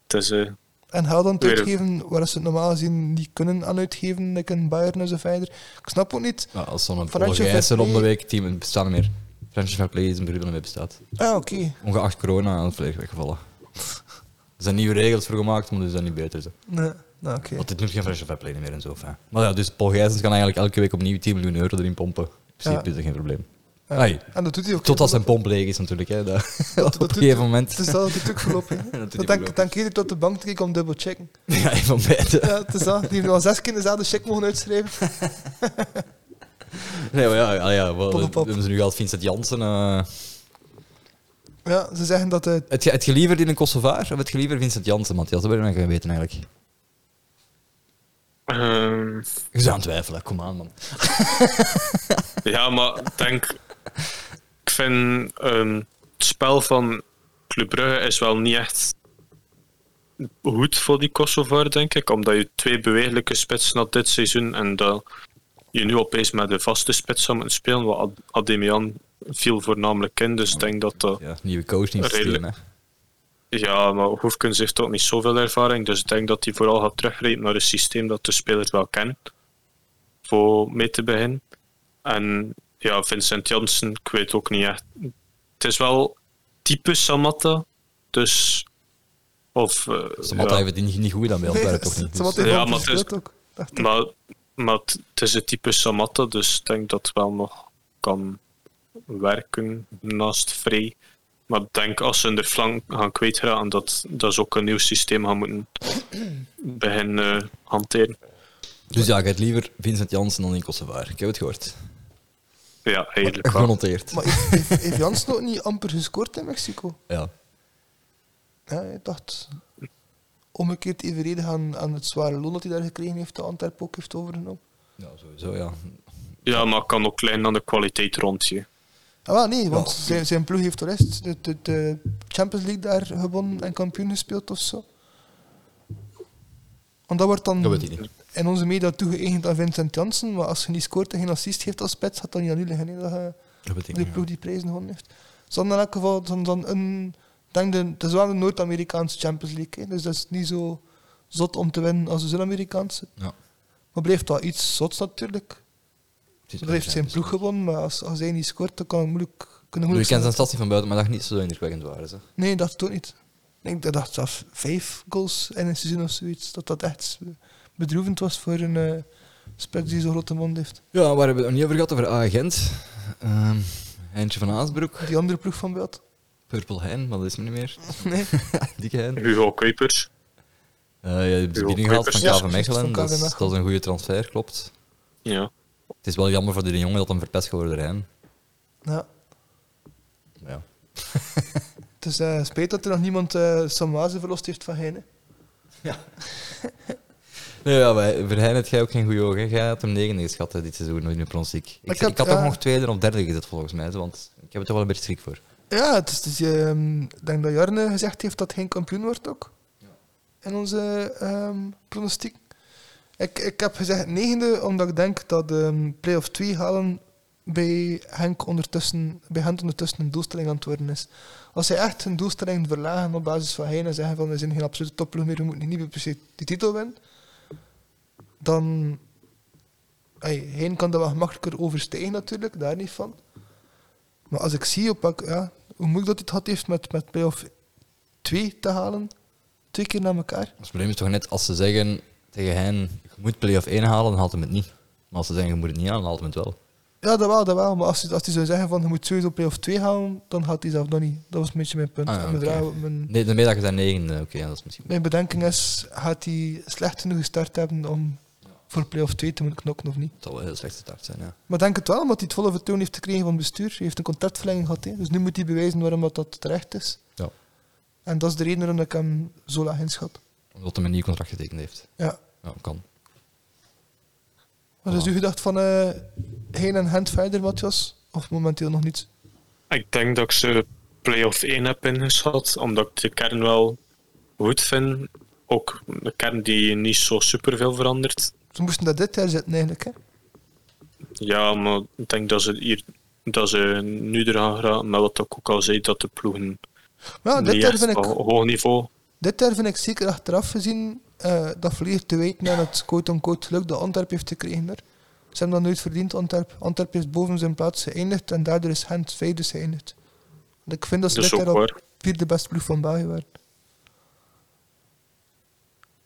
S3: het is, eh,
S2: En geld aan het
S3: Weer-
S2: uitgeven waar ze het normaal gezien niet kunnen aan uitgeven, like een Bayern en zo verder. Ik snap ook niet.
S1: Ja, als zo'n
S2: Financial
S1: Portugijse
S2: fair
S1: om de
S2: play.
S1: week team het bestaat niet meer. Financial Fair Play is een beroep dat niet meer bestaat.
S2: Ah, oké.
S1: Ongeacht corona aan het volledig weggevallen. Er zijn nieuwe regels voor gemaakt, maar dus dat niet beter. Zo.
S2: Nee, nou, oké.
S1: Want dit doet geen Financial Fair Play meer en zo. fijn. Maar ja, dus Paul Gijsens kan eigenlijk elke week opnieuw 10 miljoen euro erin pompen. In principe
S2: Ja.
S1: is dat geen probleem.
S2: Ja.
S1: Ai,
S2: En dat doet hij ook.
S1: totdat zijn pomp leeg is natuurlijk. Hè. Dat, op een
S2: doet-
S1: gegeven moment.
S2: Het is dat natuurlijk gelopen.
S1: doet hij
S2: Dat denk,
S1: voorlopig.
S2: denk iedereen tot de bank te kijken om dubbel checken.
S1: Ja, een van beide.
S2: Ja, het is dat. Die heeft al zes keer dezelfde check mogen uitschrijven.
S1: Nee, maar ja, ah ja, ja wel,
S2: Pop, pop, pop.
S1: hebben ze nu gehad, Vincent Jansen. eh,
S2: Ja, ze zeggen dat eh, het.
S1: het, ge- het geliever in een Kosovaar of het geliever Vincent Jansen, Matthias? Dat ben ik nog gaan weten eigenlijk.
S3: ehm,
S1: Je zou aan twijfelen, kom aan man.
S3: ja, maar ik denk... Ik vind ehm, het spel van Club Brugge is wel niet echt goed voor die Kosovar, denk ik. Omdat je twee bewegelijke spitsen had dit seizoen en dat je nu opeens met de vaste spits zou moeten spelen. Wat Ad- Ademian viel voornamelijk in, dus ik denk dat dat...
S1: Ja, nieuwe coach, nieuw systeem. Hè.
S3: Redelijk. Ja, maar Hoefkens heeft ook niet zoveel ervaring, dus ik denk dat hij vooral gaat terugrijden naar een systeem dat de spelers wel kennen, voor mee te beginnen. En ja, Vincent Janssen, ik weet ook niet echt. Het is wel type Samatta, dus... Of, eh,
S1: Samatta
S3: ja,
S1: heeft het niet- niet goed aan bij
S2: Nee,
S1: Antwerpen, toch niet?
S2: ze wat
S1: Dus-
S2: heeft
S3: Ja,
S2: al
S3: maar het is-
S2: gespeeld ook. Dacht ik.
S3: maar, maar het het is het type Samatta, dus ik denk dat het wel nog kan werken naast Frey. Maar ik denk als ze in de flank gaan kwijtraken, dat, dat ze ook een nieuw systeem gaan moeten beginnen eh, hanteren.
S1: Dus ja, ik heb liever Vincent Jansen dan in Kosovaar. Ik heb het gehoord.
S3: Ja, eigenlijk wel.
S1: Genoteerd.
S2: Maar heeft- heeft heeft Jans ook niet amper gescoord in Mexico?
S1: Ja.
S2: Ja, ik dacht. Omgekeerd evenredig aan, aan het zware loon dat hij daar gekregen heeft, dat Antwerpen ook heeft overgenomen.
S1: ja, sowieso ja.
S3: Ja, maar het kan ook klein aan de kwaliteit rond je.
S2: Ah, wel, nee, want zijn, zijn ploeg heeft de rest de, de, de Champions League daar gewonnen en kampioen gespeeld of zo. Want dat wordt dan
S1: Dat weet ik niet.
S2: in onze media toegeëigend aan Vincent Janssen, maar als je niet scoort en geen assist geeft als spits, gaat dat niet aan u liggen, hè, dat je
S1: Dat weet ik
S2: die
S1: niet,
S2: ploeg die prijzen gewonnen heeft. Ze hadden in elk geval dan, dan een, ik denk de, het is wel een Noord-Amerikaanse Champions League, hè, dus dat is niet zo zot om te winnen als de Zuid-Amerikaanse.
S1: ja.
S2: Maar blijft wel iets zots natuurlijk. Dat heeft zijn ploeg gewonnen, maar als, als hij niet scoort, dan kan het moeilijk... Kunnen
S1: Je
S2: moeilijk
S1: kent zijn stad niet van buiten, maar dat niet zo indrukwekkend waren. Ze.
S2: Nee, dat toch niet. Ik denk dat dat zelfs vijf goals in een seizoen of zoiets, dat dat echt bedroevend was voor een eh spits die zo'n grote mond heeft.
S1: Ja, waar hebben we het nog niet over gehad? Over agent. Ehm Eindje van Aasbroek.
S2: Die andere ploeg van beeld.
S1: Purple Hein, maar dat is me niet meer.
S2: Nee.
S1: Dikke Hein.
S3: Hugo Kuipers.
S1: Eh, ja, de
S3: Uw
S1: bieding gehaald van
S3: Kuipers,
S1: KV
S2: ja.
S1: Mechelen.
S2: Van
S1: Dat is,
S2: KV Mechelen.
S1: dat is een goede transfer, klopt.
S3: Ja.
S1: Het is wel jammer voor die jongen dat hem verpest geworden door Hein.
S2: Ja.
S1: Ja.
S2: Het is eh, spijt dat er nog niemand eh Samwaze verlost heeft van Heine.
S1: Nee, ja, maar voor Hein had jij ook geen goede ogen. hè. Jij had hem negende geschat hè, dit seizoen in de pronostiek. Ik,
S2: Ik
S1: ik,
S2: heb-
S1: had toch
S2: ja.
S1: nog tweede of derde gezet volgens mij, zo, want ik heb er toch wel een beetje schrik voor.
S2: Ja, het is, dus, ehm, ik denk dat Jarne gezegd heeft dat hij geen kampioen wordt ook. In onze ehm, pronostiek. Ik, ik heb gezegd negende, omdat ik denk dat ehm play-off 2 halen bij Henk ondertussen, bij Gent ondertussen een doelstelling aan het worden is. Als zij echt hun doelstelling verlagen op basis van Heijn en zeggen van we zijn geen absolute topploeg meer, we moeten niet meer per se die titel winnen, dan... Hey, Heijn kan dat wat makkelijker overstijgen natuurlijk, daar niet van. Maar als ik zie op welk- ja, hoe moeilijk dat hij het had heeft met, met play-off 2 te halen, twee keer na elkaar.
S1: Het probleem is toch net als ze zeggen tegen Hein, je moet play-off 1 halen, dan haalt hem het niet. Maar als ze zeggen, je moet het niet halen, dan haalt hem het wel.
S2: Ja, dat wel, dat wel. Maar als hij, als hij zou zeggen van je moet sowieso play-off 2 halen, dan had hij zelf nog niet. Dat was een beetje mijn punt.
S1: Ah, ja,
S2: En mijn,
S1: oké.
S2: draai- mijn,
S1: Nee, daarmee dat je daar negende, oké, ja, dat is misschien...
S2: mijn bedenking is, gaat hij slecht genoeg gestart hebben om voor play-off 2 te moeten knokken of niet?
S1: Het zal wel een heel slechte start zijn, ja.
S2: Maar ik denk het wel, omdat hij het volle vertrouwen heeft gekregen van het bestuur. Hij heeft een contractverlenging gehad, hè. dus nu moet hij bewijzen waarom dat, dat terecht is.
S1: Ja.
S2: En dat is de reden waarom ik hem zo laag inschat.
S1: Omdat hij een nieuw contract getekend heeft.
S2: Ja.
S1: Ja, kan.
S2: Wat is u gedacht van eh heen en hand verder, Matthias? Of momenteel nog niet?
S3: Ik denk dat ik ze play-off 1 heb ingeschat, omdat ik de kern wel goed vind. Ook een kern die niet zo superveel verandert.
S2: Ze moesten dat dit jaar zitten eigenlijk. Hè?
S3: Ja, maar ik denk dat ze hier dat ze nu er gaan geraken, maar wat ik ook al zei, dat de ploegen
S2: Maar ja, dit,
S3: niet
S2: jaar
S3: echt
S2: vind
S3: op
S2: Ah, ik,
S3: hoog niveau
S2: dit jaar vind ik zeker achteraf gezien eh, dat volledig te weten aan het quote-unquote geluk dat Antwerp heeft gekregen. Daar. Ze hebben dat nooit verdiend, Antwerp. Antwerp is boven zijn plaats geëindigd en daardoor is Gent vijfde geëindigd. Want ik vind dat ze
S3: Dat is
S2: dit
S3: ook
S2: jaar al
S3: waar.
S2: vierde beste ploeg van België waren.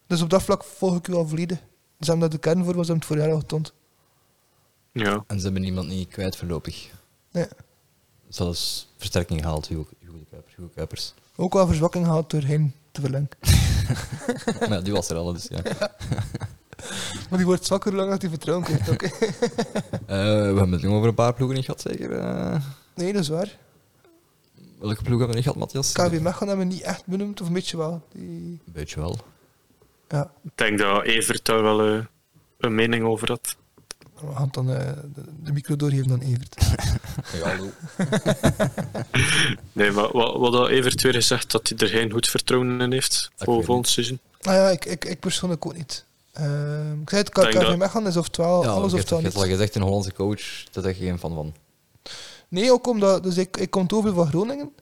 S2: Dus op dat vlak volg ik u al volledig. Ze hebben dat de kern voor, was hem het vorig jaar al getoond.
S3: Ja,
S1: En ze hebben iemand niet kwijt voorlopig.
S2: Nee.
S1: Zelfs versterking gehaald, Hugo, Hugo de Kuipers. Hugo Kuipers.
S2: Ook wel verzwakking gehad door heen te verlengen.
S1: Maar ja, die was er al, dus ja.
S2: Maar die wordt zwakker hoe langer dat hij vertrouwen krijgt. oké.
S1: Eh, we hebben het nog over een paar ploegen niet gehad, zeker? Eh,
S2: Nee, dat is waar.
S1: welke ploegen hebben we niet gehad, Matthias?
S2: KW Mechelen hebben we niet echt benoemd, of een beetje wel. Die...
S1: Een beetje wel.
S2: Ja,
S3: ik denk dat Evert daar wel eh, een mening over had.
S2: we gaan het dan eh, de, de micro doorgeven aan Evert.
S3: Nee, maar wat, wat dat Evert weer gezegd, dat hij er geen goed vertrouwen in heeft
S1: weet
S3: voor
S1: niet.
S3: volgend seizoen.
S2: Nou ja, ik, ik, ik persoonlijk ook niet. Ehm, ik zei het,
S3: Denk
S2: KW
S3: dat-
S2: Mechelen is oftewel
S1: Ja,
S2: Oh, alles
S1: je hebt-
S2: oftewel
S1: je hebt al
S2: niet.
S1: gezegd, een Hollandse coach, daar zeg je geen fan van.
S2: Nee, ook omdat... Dus ik, ik kom over van Groningen.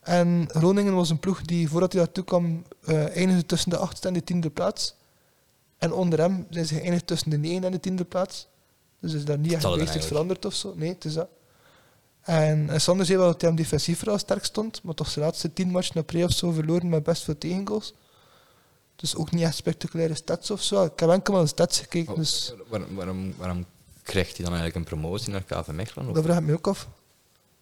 S2: En Groningen was een ploeg die, voordat hij daartoe kwam, eh eindigde tussen de achtste en de tiende plaats. En onder hem zijn ze geëindigd tussen de negende en de tiende plaats. Dus is daar niet echt
S1: zal het
S2: geweest iets
S1: eigenlijk.
S2: veranderd of zo. Nee, het is dat. En eh, Sander zei wel dat hij hem defensief vooral sterk stond, maar toch zijn laatste tien matchen na play of zo verloren met best veel tegengoals. Dus ook niet echt spectaculaire stats of zo. Ik heb enkel maar de stats
S1: Oh,
S2: gekeken, dus
S1: Waarom, waarom, waarom krijgt hij dan eigenlijk een promotie naar KV Mechelen? Of
S2: dat vraag ik me ook af.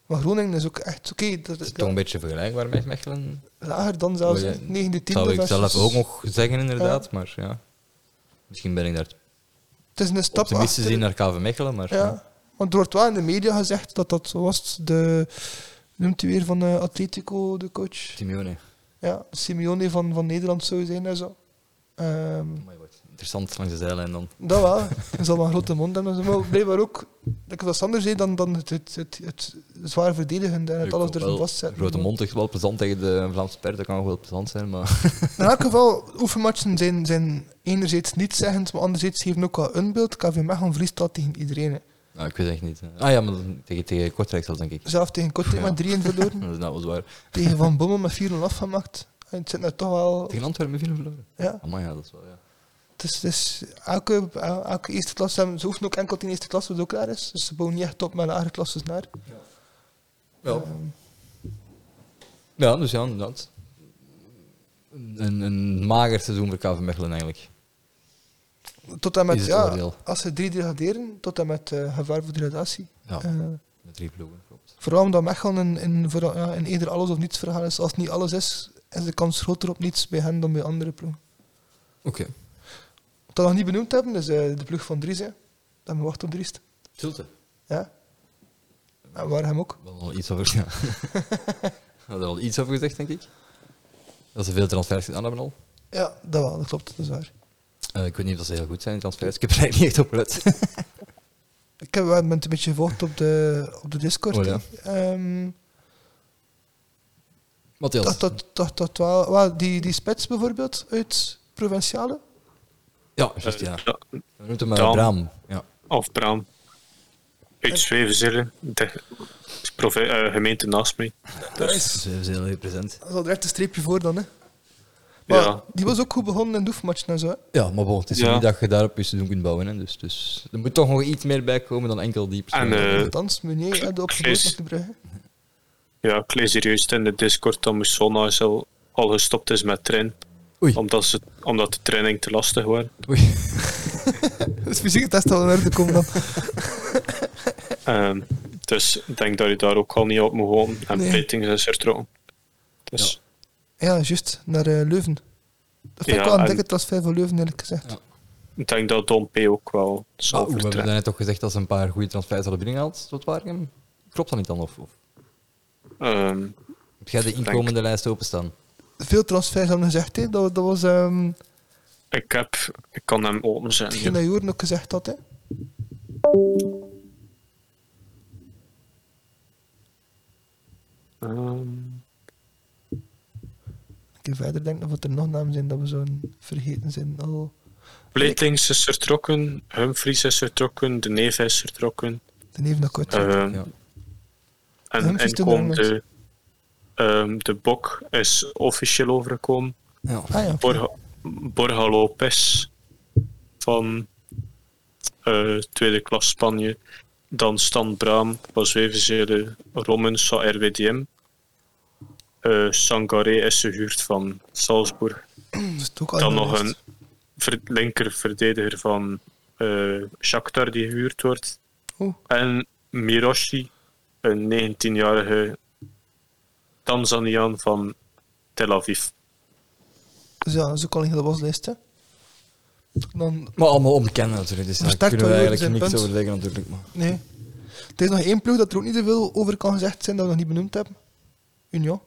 S2: Maar Groningen is ook echt oké. dat-
S1: is het
S2: dat-
S1: toch een beetje vergelijkbaar met Mechelen?
S2: Lager dan zelfs
S1: Wil je-
S2: 9 10
S1: Dat Oh zou ik zelf ook nog zeggen, inderdaad. Maar ja, misschien ben ik daar
S2: Het is een stap
S1: optimistisch eh,
S2: achter.
S1: in naar KV Mechelen. Maar ja.
S2: Ja. Want er wordt wel in de media gezegd dat dat zo was. De, noemt u weer van eh, Atletico, de coach?
S1: Simeone.
S2: Ja, Simeone van, van Nederland zou zijn en zo. Ehm,
S1: Amai, wat Oh Interessant langs de zijlijn dan.
S2: dat wel, hij zal wel een grote mond hebben. en zo. Maar blijkbaar ook, dat ik wat anders zei dan, dan het, het, het, het zwaar verdedigende en het alles
S1: Wel,
S2: ervan vastzetten.
S1: Grote mond is wel plezant tegen de Vlaamse pers, dat kan ook wel plezant zijn. Maar
S2: In elk geval, oefenmatchen zijn, zijn enerzijds niet zeggend, maar anderzijds geven ook wel een beeld. KV Mechelen verliest dat tegen iedereen. hè.
S1: nou, ik weet echt niet. Ah ja, maar dan- tegen, tegen Kortrijk zelfs, denk ik.
S2: Zelf tegen Kortrijk
S1: Ja.
S2: met 3-1 verloren.
S1: Dat is nou wel zwaar.
S2: tegen Van Bommel met 4-0 afgemaakt. En het zit nou toch wel...
S1: Tegen Antwerpen viel hem verloren.
S2: Ja.
S1: Amai, ja, Ah, dat is wel, ja.
S2: Dus, dus elke, el- elke eerste klas, hebben- ze hoeven ook enkel die eerste klas, wat ook klaar is. Dus ze bouwen niet echt op met lagere klasses naar.
S1: Ja. Ja, dus ja, inderdaad. Een, een mager seizoen voor KV Mechelen eigenlijk.
S2: Tot en
S1: Is
S2: met,
S1: het
S2: ja,
S1: oordeel.
S2: als ze drie degraderen, tot en met eh, gevaar voor degradatie.
S1: Ja,
S2: Eh,
S1: met drie ploegen, klopt.
S2: vooral omdat Mechelen in, in, vooral, ja, in eerder alles of niets verhaal is. Als het niet alles is, is de kans groter op niets bij hen dan bij andere ploegen.
S1: Oké.
S2: Wat we nog niet benoemd hebben, is eh, de ploeg van Dries. Hè. Dat we wachten op Dries.
S1: Zulte.
S2: Ja. En waar hem ook.
S1: We hadden al iets over, ja. We hadden al iets over gezegd, denk ik. Dat ze veel transfers gedaan hebben al.
S2: Ja, dat wel, dat klopt, dat is waar.
S1: Eh, ik weet niet of ze heel goed zijn in transfers. Ik heb er eigenlijk niet echt op gelet.
S2: Ik heb wel een beetje gevolgd op de, op de Discord.
S1: Oh ja.
S2: hè. Ehm,
S1: Matthias.
S2: dat, dat, dat, dat wel, wel, die, die spits bijvoorbeeld uit Provinciale.
S1: Ja, juist,
S3: Eh,
S1: ja.
S3: ja,
S1: We noemen hem eh,
S3: Dam.
S1: Braam. Ja.
S3: Of Braam. Uit Zwevenzillen. De provi- eh, gemeente naast mij.
S2: Dat is,
S1: Dus hij is heel heel present.
S2: dat is al direct een streepje voor dan. Hè. Maar
S3: Ja.
S2: die was ook goed begonnen in de oefenmatchen en zo. hè.
S1: Ja, maar bon, het is
S3: Ja.
S1: niet dat je daarop je seizoen kunt bouwen. Hè. Dus, dus er moet toch nog iets meer bij komen dan enkel die
S3: En
S1: persoon.
S3: eh,
S2: Althans, Meunier had de opgebouwd
S3: Chris.
S2: met de bruggen.
S3: ja, ik lees hier juist in de Discord dat Musona is al, al gestopt is met trainen.
S1: Oei.
S3: Omdat, ze, omdat de training te lastig was.
S1: Oei.
S2: Het fysieke test al in orde komen dan.
S3: Ehm, dus ik denk dat je daar ook al niet op moet wonen. En
S2: Nee.
S3: Petings is vertrokken. Dus
S2: Ja, juist, naar eh, Leuven. Dat vind
S3: Ja,
S2: ik wel een
S3: en-
S2: dikke transfer van Leuven, eerlijk gezegd.
S1: Ja.
S3: ik denk dat Don P. ook wel
S1: Ah, oeh,
S3: zal
S1: we hebben
S3: vertrekken.
S1: daarnet toch gezegd dat ze een paar goede transfers hadden binnengehaald tot Waregem. Klopt dat niet dan? Of, of
S3: Ehm,
S1: heb jij de inkomende lijst openstaan?
S2: Veel transfers hebben gezegd, hè. Dat, dat was ehm,
S3: ik, heb, ik kan hem openzetten.
S2: hetgeen dat Joren ook gezegd had. Hè.
S3: Ehm,
S2: Ik verder denk nog wat er nog namen zijn dat we zo'n vergeten zijn al.
S3: Blatings is vertrokken, Humphries is vertrokken, De Neef is vertrokken.
S2: Dan even nog kort.
S3: Ehm,
S1: Ja.
S3: En
S2: Humphries doet er
S3: inkomt
S2: nog
S3: de, ehm, de Bok is officieel overgekomen.
S1: Ja.
S2: ah ja, oké.
S3: Borja, Borja Lopez van eh, tweede klas Spanje. Dan Stan Braam van Zwevenzelen, Romens van RWDM. Eh Sangaré is gehuurd van Salzburg.
S2: dat is het ook al
S3: Dan
S2: in de
S3: nog een
S2: lijst.
S3: ver- linker verdediger van eh Shakhtar die gehuurd wordt.
S2: Oeh.
S3: En Miroshi, een 19-jarige Tanzaniaan van Tel Aviv.
S2: Dus ja, dat is ook al in de waslijst. Hè. Dan,
S1: Maar allemaal onbekend natuurlijk, dus daar
S2: Versterkt
S1: kunnen we
S2: wel Jurgen
S1: eigenlijk
S2: zijn
S1: niks
S2: punt.
S1: over zeggen natuurlijk. Maar.
S2: nee. Er is nog één ploeg dat er ook niet zoveel over kan gezegd zijn dat we nog niet benoemd hebben. Union.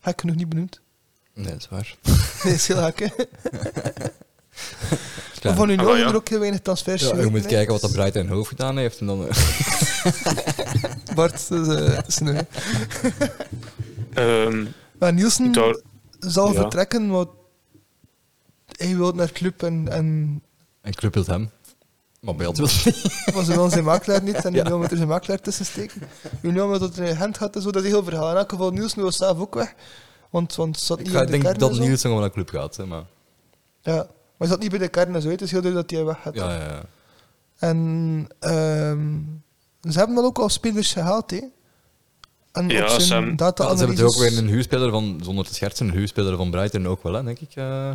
S2: Gek genoeg niet benoemd.
S1: Nee, dat is waar.
S2: Nee, is heel gek, hè.
S1: Klaar.
S2: Maar van Union
S3: Ah, wel, ja.
S2: zijn er ook heel weinig transfers.
S1: Ja, je
S2: geweest,
S1: moet
S2: hè.
S1: kijken wat dat Bright in hoofd gedaan heeft. En dan, eh,
S2: Bart, dat is, eh, dat is een-
S3: Ehm,
S2: Maar Nielsen
S3: daar,
S2: zal
S3: ja.
S2: vertrekken, want hij wil naar club en, en
S1: en kruppelt hem. Maar Belt wil het niet.
S2: Maar ze willen zijn makelaar niet en
S1: Ja.
S2: Union moet er zijn makelaar tussen steken. Union wil dat er een agent gaat en zo, dat is heel verhaal. In elk geval, Niels wil zelf ook weg. Want, want zat
S1: Ik
S2: niet
S1: ga,
S2: bij de
S1: denk
S2: kern en
S1: dat
S2: zo.
S1: Niels nog wel naar de club gaat. Hè, maar,
S2: Ja, maar hij zat niet bij de kern en zo, het is heel duidelijk dat hij weg gaat.
S1: ja, ja, ja.
S2: En ehm, ze hebben dan ook al spelers gehaald, hè. En
S3: Ja,
S2: op
S3: ze
S2: zijn
S3: hebben-
S1: Ja, ze
S2: data-analyses...
S1: hebben er ook weer een huurspeler van, zonder te schertsen, een huurspeler van Brighton ook wel, hè, denk ik. eh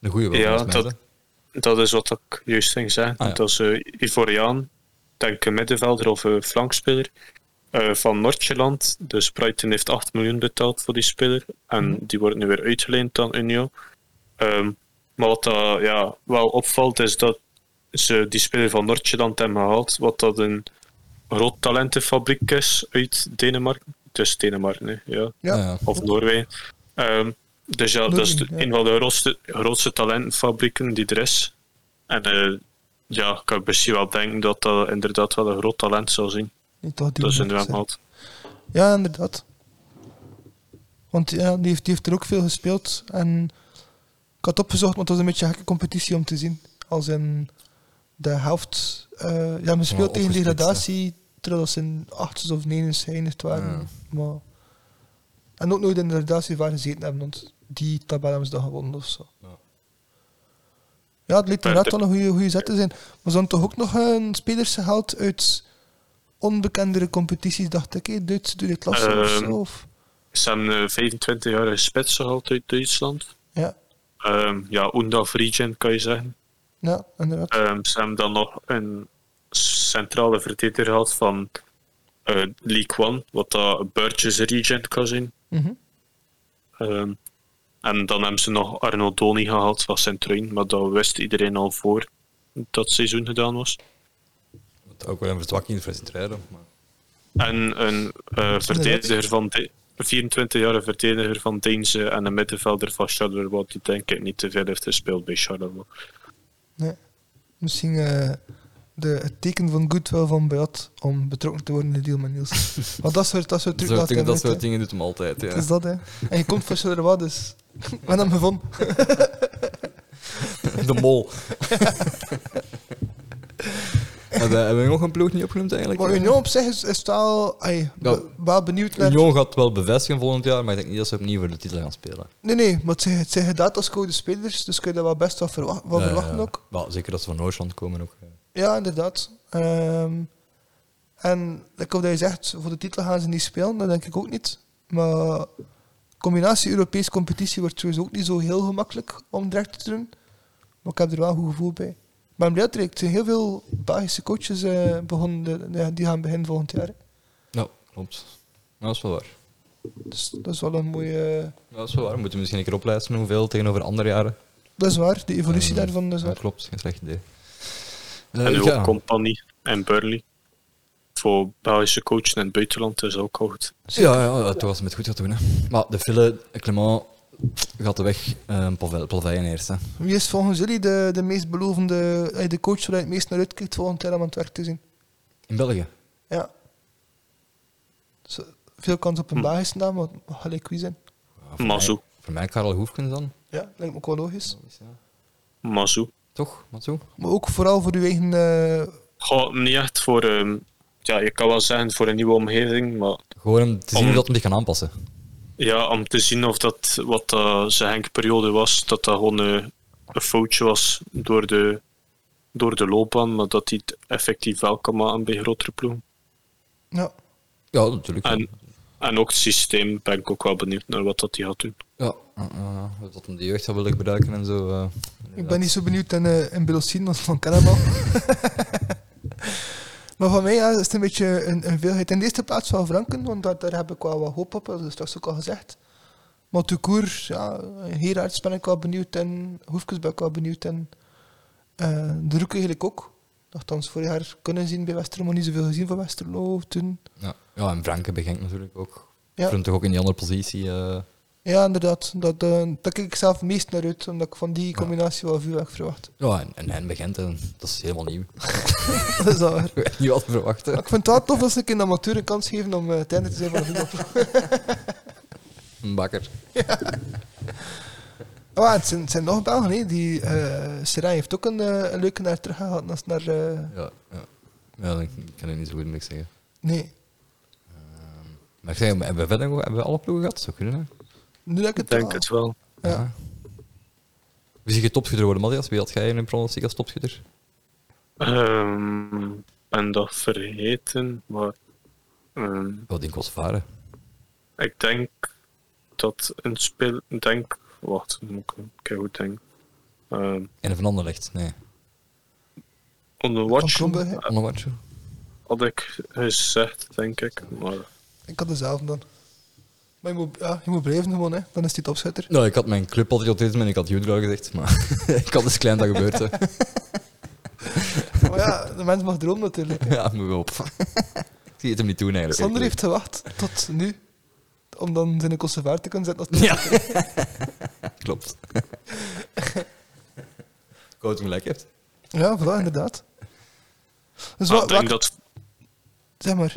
S1: een goede wel,
S3: Ja,
S1: volgens mij,
S3: dat-
S1: hè.
S3: dat is wat ik juist ging zeggen.
S1: Ah, ja.
S3: Dat is eh, Ivoriaan, denk een middenvelder of een flankspeler. eh, van Noordjeland. Dus Brighton heeft 8 miljoen betaald voor die speler. En
S1: Mhm.
S3: die wordt nu weer uitgeleend aan Unio. Ehm, maar wat dat, ja, wel opvalt is dat ze die speler van Noordjeland hebben gehaald. Wat dat een groot talentenfabriek is uit Denemarken. Dus Denemarken, hè, ja
S2: Ja.
S1: Ja, ja.
S3: of Noorwegen. Ehm, dus ja, dat is de-
S2: Noorwegen, ja.
S3: een van de grootste, grootste talentenfabrieken die er is. En eh, ja, ik kan misschien wel denken dat dat inderdaad wel een groot talent zal zijn.
S2: Niet dat die
S3: Dat is in
S2: moet zijn.
S3: Wemhout.
S2: Ja, inderdaad. Want ja, die heeft, die heeft er ook veel gespeeld. En ik had opgezocht, want het was een beetje een gekke competitie om te zien. Als in de helft. eh, ja, men speelt tegen
S1: opgesplitst,
S2: degradatie, terwijl dat ze in achters of nenes geëindigd waren.
S1: Ja.
S2: Maar, en ook nooit in de degradatie waar gezeten hebben, want die tabel hebben ze dan gewonnen of zo.
S1: Ja.
S2: Ja, Ja, het leek inderdaad
S3: Maar de-
S2: wel een goede- goede zet te zijn. Maar ze hadden toch ook nog een spelers gehaald uit onbekendere competities, dacht ik. hè? Duitse tweede klasse of
S3: Ehm.
S2: zo. Of,
S3: Ze hebben 25 jaar spits gehaald uit Duitsland.
S2: ja,
S3: Ehm, ja, Undaf Region kan je zeggen.
S2: ja, inderdaad.
S3: Ehm, ze hebben dan nog een centrale verdediger gehad van eh League One, wat dat Burgess Region kan zijn.
S2: Mhm.
S3: Ehm, en dan hebben ze nog Arno Doni gehaald van Centruin, maar dat wist iedereen al voor dat seizoen gedaan was.
S1: Wat ook wel een verzwakking voor Sint-Truiden. maar-
S3: En een eh, verdediger van de, 24-jarige verdediger van Deense en een middenvelder van Charleroi, die denk ik niet te veel heeft gespeeld bij Charleroi.
S2: Nee. Misschien eh, de, het teken van goodwill van Beat om betrokken te worden in de deal met Niels. Want dat soort, dat soort
S1: Dat
S2: trucs
S1: soort
S2: laat
S1: dingen,
S2: hij
S1: dat
S2: nooit, hè.
S1: soort dingen doet hem altijd. Ja.
S2: Het is dat, hè. En je komt voor Charleroi, dus... We hebben hem gevonden.
S1: De mol. Maar daar hebben we nog een ploeg niet opgenoemd eigenlijk?
S2: Maar Union op zich is, is het wel... ai,
S1: Ja.
S2: be- wel benieuwd naar...
S1: Union gaat wel bevestigen volgend jaar, maar ik denk niet dat ze opnieuw voor de titel gaan spelen.
S2: Nee, nee, maar het zijn, het zijn data's-code spelers, dus kun je daar wel best wat verwachten, wat
S1: Eh,
S2: verwachten ook.
S1: wel, zeker dat ze van Noordland komen ook. eh.
S2: Ja, inderdaad. Ehm, en ik hoop dat je zegt, voor de titel gaan ze niet spelen, dat denk ik ook niet. Maar combinatie Europese competitie wordt sowieso ook niet zo heel gemakkelijk om direct te doen. Maar ik heb er wel een goed gevoel bij. Maar ik ben blij dat er er zijn heel veel Belgische coaches eh, begonnen, de- ja, die gaan beginnen volgend jaar. hè.
S1: Nou, klopt. Ja, Dat is wel waar.
S2: Dus dat is wel een mooie...
S1: Ja, Dat is wel waar. We moeten misschien een keer oplijsten hoeveel tegenover andere jaren.
S2: Dat is waar, de evolutie
S1: Eh,
S2: daarvan, dat is
S1: ja,
S2: waar.
S1: klopt, geen slecht idee.
S3: en
S1: Eh,
S3: ook
S1: ja.
S3: Compagnie en Burley. Voor Belgische coachen in het buitenland is ook al goed.
S1: Ja, ja, ja, toch als ze het goed gaat doen. Hè. Maar de file, Clement gaat de weg eh Pavel- Palveien eerst. Hè.
S2: Wie is volgens jullie de, de meest belovende, eh, de coach waar je het meest naar uitkijkt volgend jaar om aan het werk te zien?
S1: In België.
S2: Ja. Dus, eh, veel kans op een
S3: Hm.
S2: Belgische naam, maar het mag gelijk wie zijn.
S1: Ja, voor
S3: Mazou.
S1: mij- Voor mij Karel Hoefkens dan.
S2: Ja, lijkt me ook wel logisch.
S3: Mazou.
S1: Toch, Mazou?
S2: Maar ook vooral voor uw eigen... eh,
S3: Goh, niet echt voor, ehm, ja, je kan wel zeggen voor een nieuwe omgeving, maar
S1: Gewoon om te zien
S3: Om-
S1: hoe dat hem zich kan aanpassen.
S3: ja, om te zien of dat wat dat zijn Henk-periode was, dat dat gewoon eh, een foutje was door de, door de loopbaan, maar dat hij het effectief wel kan maken bij grotere ploegen.
S2: ja.
S1: Ja, natuurlijk.
S3: En, en ook het systeem ben ik ook wel benieuwd naar wat dat hij gaat doen.
S1: Ja, ja, ja, ja. dat hem de jeugd zou willen gebruiken en zo. eh,
S2: Ik
S1: inderdaad.
S2: ben niet zo benieuwd in, eh in Belosien als van Cannibal. maar van mij ja, is het een beetje een, een veelheid. In de eerste plaats van Franken, want daar, daar heb ik wel wat hoop op, dat is straks ook al gezegd. Maar de koers, ja, Gerards ben ik wel benieuwd en Hoefkes ben ik wel benieuwd en eh, de Roek eigenlijk ook. Nochtans, vorig jaar kunnen zien bij Westerlo, maar niet zoveel gezien van Westerlo toen.
S1: Ja. ja, en Franke begint natuurlijk ook.
S2: Ja.
S1: Ja. toch ook in die andere positie. eh.
S2: Ja, inderdaad. Dat, eh, dat kijk ik zelf het meest naar uit, omdat ik van die combinatie wel veel heb verwacht.
S1: Ja, en, en hen begint, en dat is helemaal nieuw.
S2: dat is wel waar.
S1: Ik weet niet wat te
S2: Ja,
S1: verwachten.
S2: ik vind het wel tof dat ze een keer een amateur een kans geven om eh, het einde te zijn van de voetbal.
S1: Een bakker.
S2: Oh, ja, het, zijn, het zijn nog Belgen, hè. Die, eh Seraing heeft ook een, eh, een leuke naar terug gehad. Als naar, eh,
S1: Ja, ja. ja ik ik kan er niet zo goed niks zeggen.
S2: nee,
S1: Maar ik zeg, hebben we verder nog- hebben we alle ploegen gehad? Zou kunnen, hè?
S2: nu dat ik het Ah,
S3: Ik denk
S2: wel-
S3: het wel.
S2: Ja.
S1: Wie is je topschutter worden, Matthias? Wie had jij in een pronostiek als topschutter?
S3: Ehm, ben dat vergeten, maar ehm,
S1: Wel, denk Kosvaren.
S3: ik denk dat een speel. ik Denk, wacht, moet ik een keer goed denken. Ehm
S1: En Van Anderlecht, nee.
S3: on the
S2: Van
S3: watch
S2: Kromberg, hè.
S1: Onnowacho.
S3: had ik gezegd, denk ik. Maar
S2: Ik had dezelfde dan. Maar je moet, ja, je moet blijven gewoon, hè. Dan is die topschutter.
S1: Nou, ik had mijn clubpatriotisme en ik had Judo gezegd, maar ik had dus klein dat gebeurd. Hè.
S2: Maar ja, de mens mag dromen natuurlijk.
S1: Ja, moet wel op. ik zie het hem niet doen eigenlijk.
S2: Sander heeft gewacht tot nu. Om dan zijn conservaar te kunnen zetten. Als
S1: Ja. Klopt. ik hoop dat hij gelijk hebt.
S2: Ja, voilà, inderdaad. Dus
S3: Ah,
S2: wat,
S3: ik
S2: wat-
S3: denk dat,
S2: zeg maar.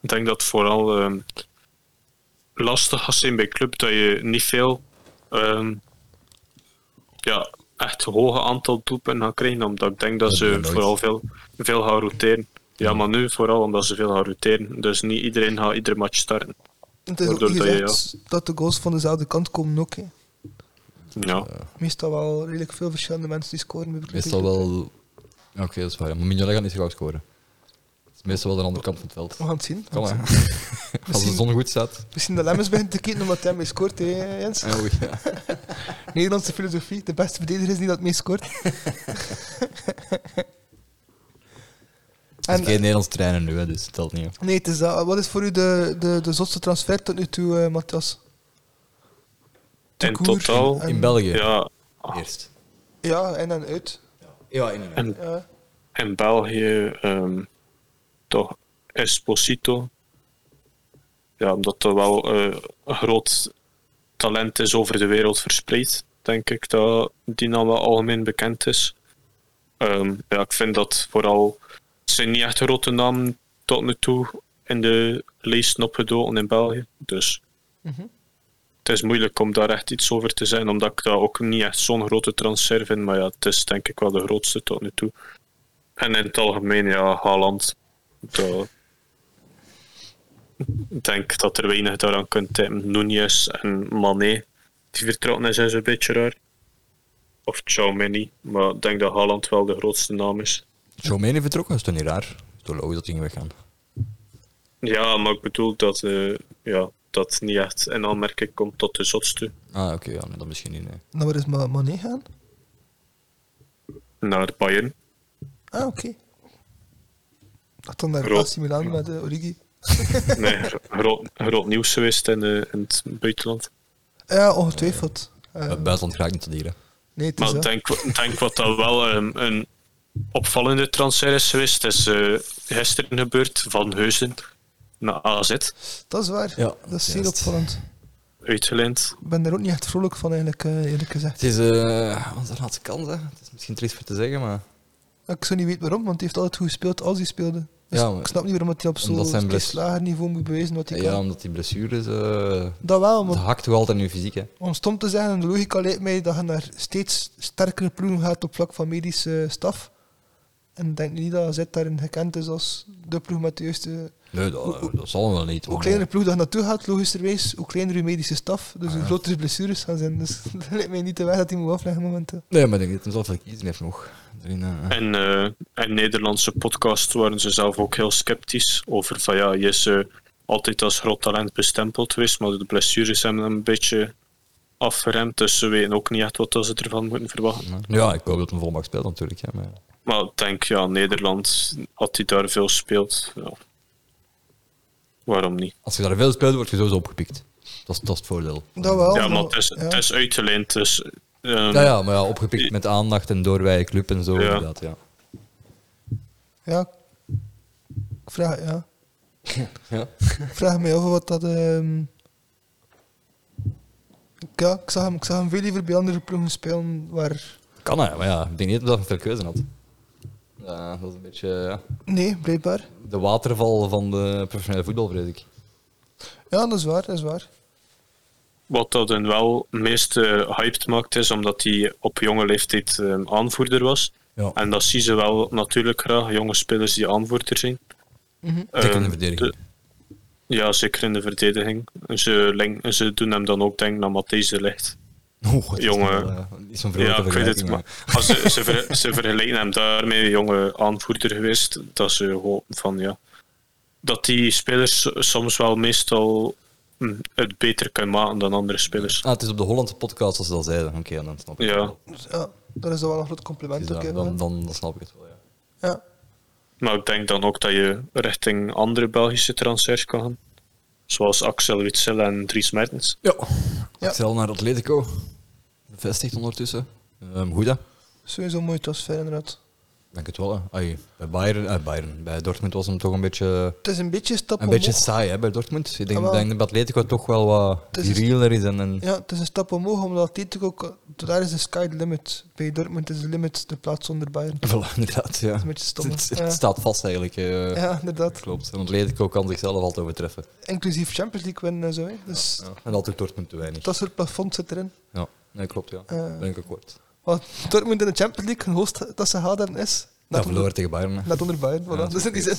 S3: ik denk dat vooral ehm, lastig gaat zijn bij club dat je niet veel ehm, ja, echt hoge aantal doelpunten gaat krijgen. Omdat ik denk dat
S1: Dat
S3: ze
S1: doen we nooit.
S3: vooral veel, veel gaan roteren. Ja, maar nu vooral omdat ze veel gaan roteren. Dus niet iedereen gaat iedere match starten.
S2: Het is ook
S3: Waardoor
S2: niet
S3: dat je,
S2: gezegd dat de goals van dezelfde kant komen ook, hè.
S3: Ja.
S2: Meestal wel redelijk veel verschillende mensen die scoren. bij Brooklyn
S1: Meestal
S2: Club.
S1: wel... Ja, Oké, dat is waar. ja. Maar Mignolet gaat niet zo gauw scoren. Het is meestal wel de andere kant van het veld.
S2: We gaan het zien.
S1: Kan hè. Als de
S2: Misschien-
S1: zon goed staat.
S2: Misschien dat Lemmens begint te kijken omdat hij mee scoort, hè, Jens?
S1: Ja, goed, Oh, ja.
S2: Nederlandse filosofie, de beste verdediger is niet dat het meest scoort.
S1: Het is
S2: en,
S1: geen Nederlands trainer nu, hè, dus het telt niet. hè.
S2: nee, het is dat. Wat is voor u de, de, de zotste transfer tot nu toe, eh, Matthias? De
S3: In
S2: Koer
S3: totaal,
S2: en-
S1: In België,
S3: ja,
S1: eerst.
S2: Ja, in en uit.
S1: Ja, inderdaad.
S3: en
S2: Ja.
S3: in België ehm, toch Esposito. Ja, omdat er wel eh, een groot talent is over de wereld verspreid, denk ik dat die nou wel algemeen bekend is. Ehm, ja, ik vind dat vooral het zijn niet echt grote namen tot nu toe in de lijsten opgedoken in België. Dus
S2: Mhm.
S3: het is moeilijk om daar echt iets over te zijn, omdat ik dat ook niet echt zo'n grote transfer vind. Maar ja, het is denk ik wel de grootste tot nu toe. En in het algemeen, ja, Haaland. dat- Ik denk dat er weinig daaraan kunt tippen. Nunez en Mané, die vertrokken is, is een beetje raar. Of Mini, maar ik denk dat Haaland wel de grootste naam is.
S1: Chomeni vertrokken, dat is toch niet raar? Het is toch logisch dat hij ging weggaan.
S3: Ja, maar ik bedoel dat eh, ja, dat niet echt in aanmerking komt tot de zotste
S1: Ah, oké, ja, nee, dat misschien niet, nee.
S2: Nou, waar is Ma- Mané gaan?
S3: naar Bayern.
S2: Ah, oké. Dat dan naar
S3: Groot.
S2: AC Milan met eh, Origi.
S3: Nee, gro- groot, groot nieuws geweest in, eh, in het buitenland.
S2: Ja, ongetwijfeld. Eh,
S1: Het buitenland graag niet te dieren.
S2: nee, het is
S3: Maar ik
S2: dat.
S3: denk, ik denk wat dat wel ehm, een opvallende transfer is geweest, is eh, gisteren gebeurd van Heusden naar AZ,
S2: Dat is waar.
S1: Ja,
S2: dat is zeer
S1: juist.
S2: opvallend.
S3: uitgeleend.
S2: Ik ben er ook niet echt vrolijk van, eigenlijk, eh, eerlijk gezegd.
S1: Het is eh, onze laatste kans, hè. Het is misschien triest voor te zeggen, maar...
S2: Ik zou niet weten waarom, want hij heeft altijd goed gespeeld als hij speelde. Dus
S1: Ja, maar-
S2: ik snap niet waarom dat hij op
S1: Omdat zijn
S2: zo'n
S1: bless-
S2: slager niveau moet bewijzen wat hij
S1: Ja,
S2: kan.
S1: omdat die blessures... eh
S2: Dat wel,
S1: het
S2: maar
S1: hakt toch altijd in je fysiek, hè.
S2: om stom te zeggen, en de logica lijkt mij dat je naar steeds sterkere ploegen gaat op vlak van medische eh, staf. En ik denk niet dat AZ daarin gekend is als de ploeg met de juiste...
S1: Nee, dat, dat zal wel niet.
S2: Hoe
S1: maar-
S2: kleiner de ploeg dat je naartoe gaat, logischerwijs, hoe kleiner je medische staf,
S1: Ah,
S2: dus hoe grotere blessures gaan zijn. Dus dat lijkt mij niet de weg dat hij moet afleggen momenteel.
S1: Nee, maar ik denk dat hij zelf wel kiezen heeft nog. Erin, eh,
S3: En eh, in Nederlandse podcast waren ze zelf ook heel sceptisch over van ja, je is eh, altijd als groot talent bestempeld geweest, maar de blessures hebben hem een beetje afgeremd, dus ze weten ook niet echt wat dat ze ervan moeten verwachten.
S1: Ja, ik hoop dat hij volmacht speelt natuurlijk, hè. Maar...
S3: Maar ik denk, ja, Nederland, had hij daar veel speelt, ja. waarom niet?
S1: Als je daar veel speelt, word je sowieso opgepikt. Dat is, dat is het voordeel.
S2: Dat wel.
S3: ja, maar het is,
S2: ja.
S3: het is uitgeleend, dus... ehm,
S1: Oh, Ja, ja, maar ja, opgepikt met aandacht en door wij club en zo,
S3: Ja.
S1: inderdaad, ja.
S2: Ja. Ik vraag, ja.
S1: Ja.
S2: Ik vraag me af wat dat. ehm, Ja, ik zag, hem, ik zag hem veel liever bij andere ploegen spelen waar.
S1: Kan hè, maar ja, ik denk niet dat hij veel keuze had. Ja, dat is een beetje ja,
S2: Nee, blijkbaar.
S1: de waterval van de professionele voetbal, vrees ik.
S2: Ja, dat is waar, dat is waar.
S3: Wat dat hen wel meest eh, hyped maakt, is omdat hij op jonge leeftijd eh, aanvoerder was.
S1: Ja.
S3: En dat zien ze wel natuurlijk graag, jonge spelers die aanvoerder zijn.
S1: Zeker in
S3: Ehm,
S1: de verdediging.
S3: de- ja, zeker in de verdediging. En ze, leng- en ze doen hem dan ook denken naar Matthijs de Ligt.
S1: Oh, het
S3: jongen.
S1: Is wel, eh, niet zo'n
S3: Ja,
S1: vrolijke
S3: ik weet het,
S1: vergelijking,
S3: maar
S1: maar...
S3: als ze, ze, ver- ze vergelijken hem daarmee, een jonge aanvoerder geweest, dat ze gewoon van ja. Dat die spelers soms wel meestal hm, het beter kunnen maken dan andere spelers.
S1: Ah, het is op de Hollandse podcast als ze dat zeiden. Oké, ja, dan snap ik het
S3: Ja,
S1: wel.
S2: Dus ja, dat is dan wel een groot
S1: Het is
S2: compliment.
S1: dat,
S2: ook, hè,
S1: dan,
S2: man.
S1: dan, dan snap ik het wel, ja.
S2: Ja.
S3: maar ik denk dan ook dat je richting andere Belgische transfers kan gaan. Zoals Axel Witsel en Dries Mertens.
S1: Ja.
S2: Ja.
S1: Excel naar Atletico. Bevestigd ondertussen. Ehm goed, hè?
S2: Sowieso een mooie transfer, inderdaad.
S1: Denk het wel, hè? Ai, bij Bayern, eh, Bayern. Bij Dortmund was hem toch een beetje,
S2: Het is een beetje een stap
S1: een beetje
S2: omhoog.
S1: saai, hè, bij Dortmund. Ik denk,
S2: Jawel.
S1: denk dat Atletico toch wel wat
S2: Ah, is een-
S1: virieler is. En, en...
S2: Ja, het is een stap omhoog, omdat Atletico ook. Daar is de sky the limit. Bij Dortmund is de limit de plaats zonder Bayern. Dat
S1: Voilà, inderdaad, ja.
S2: is een beetje stom.
S1: Het, het
S2: hè. Ja.
S1: staat vast eigenlijk. eh,
S2: Ja, inderdaad.
S1: Klopt. En Atletico kan zichzelf altijd overtreffen.
S2: Inclusief Champions League winnen en zo. Hè. Dus
S1: En altijd Dortmund te weinig.
S2: dat soort plafond zit erin.
S1: Ja, nee, klopt, ja.
S2: Eh.
S1: Ben ik akkoord.
S2: Want Dortmund in de Champions League, hun hoogst dat ze gehaald hebben is.
S1: Ja,
S2: Net, onder,
S1: verloren tegen Bayern. hè.
S2: net onder Bayern. Voilà.
S1: Ja,
S2: dus in die zin,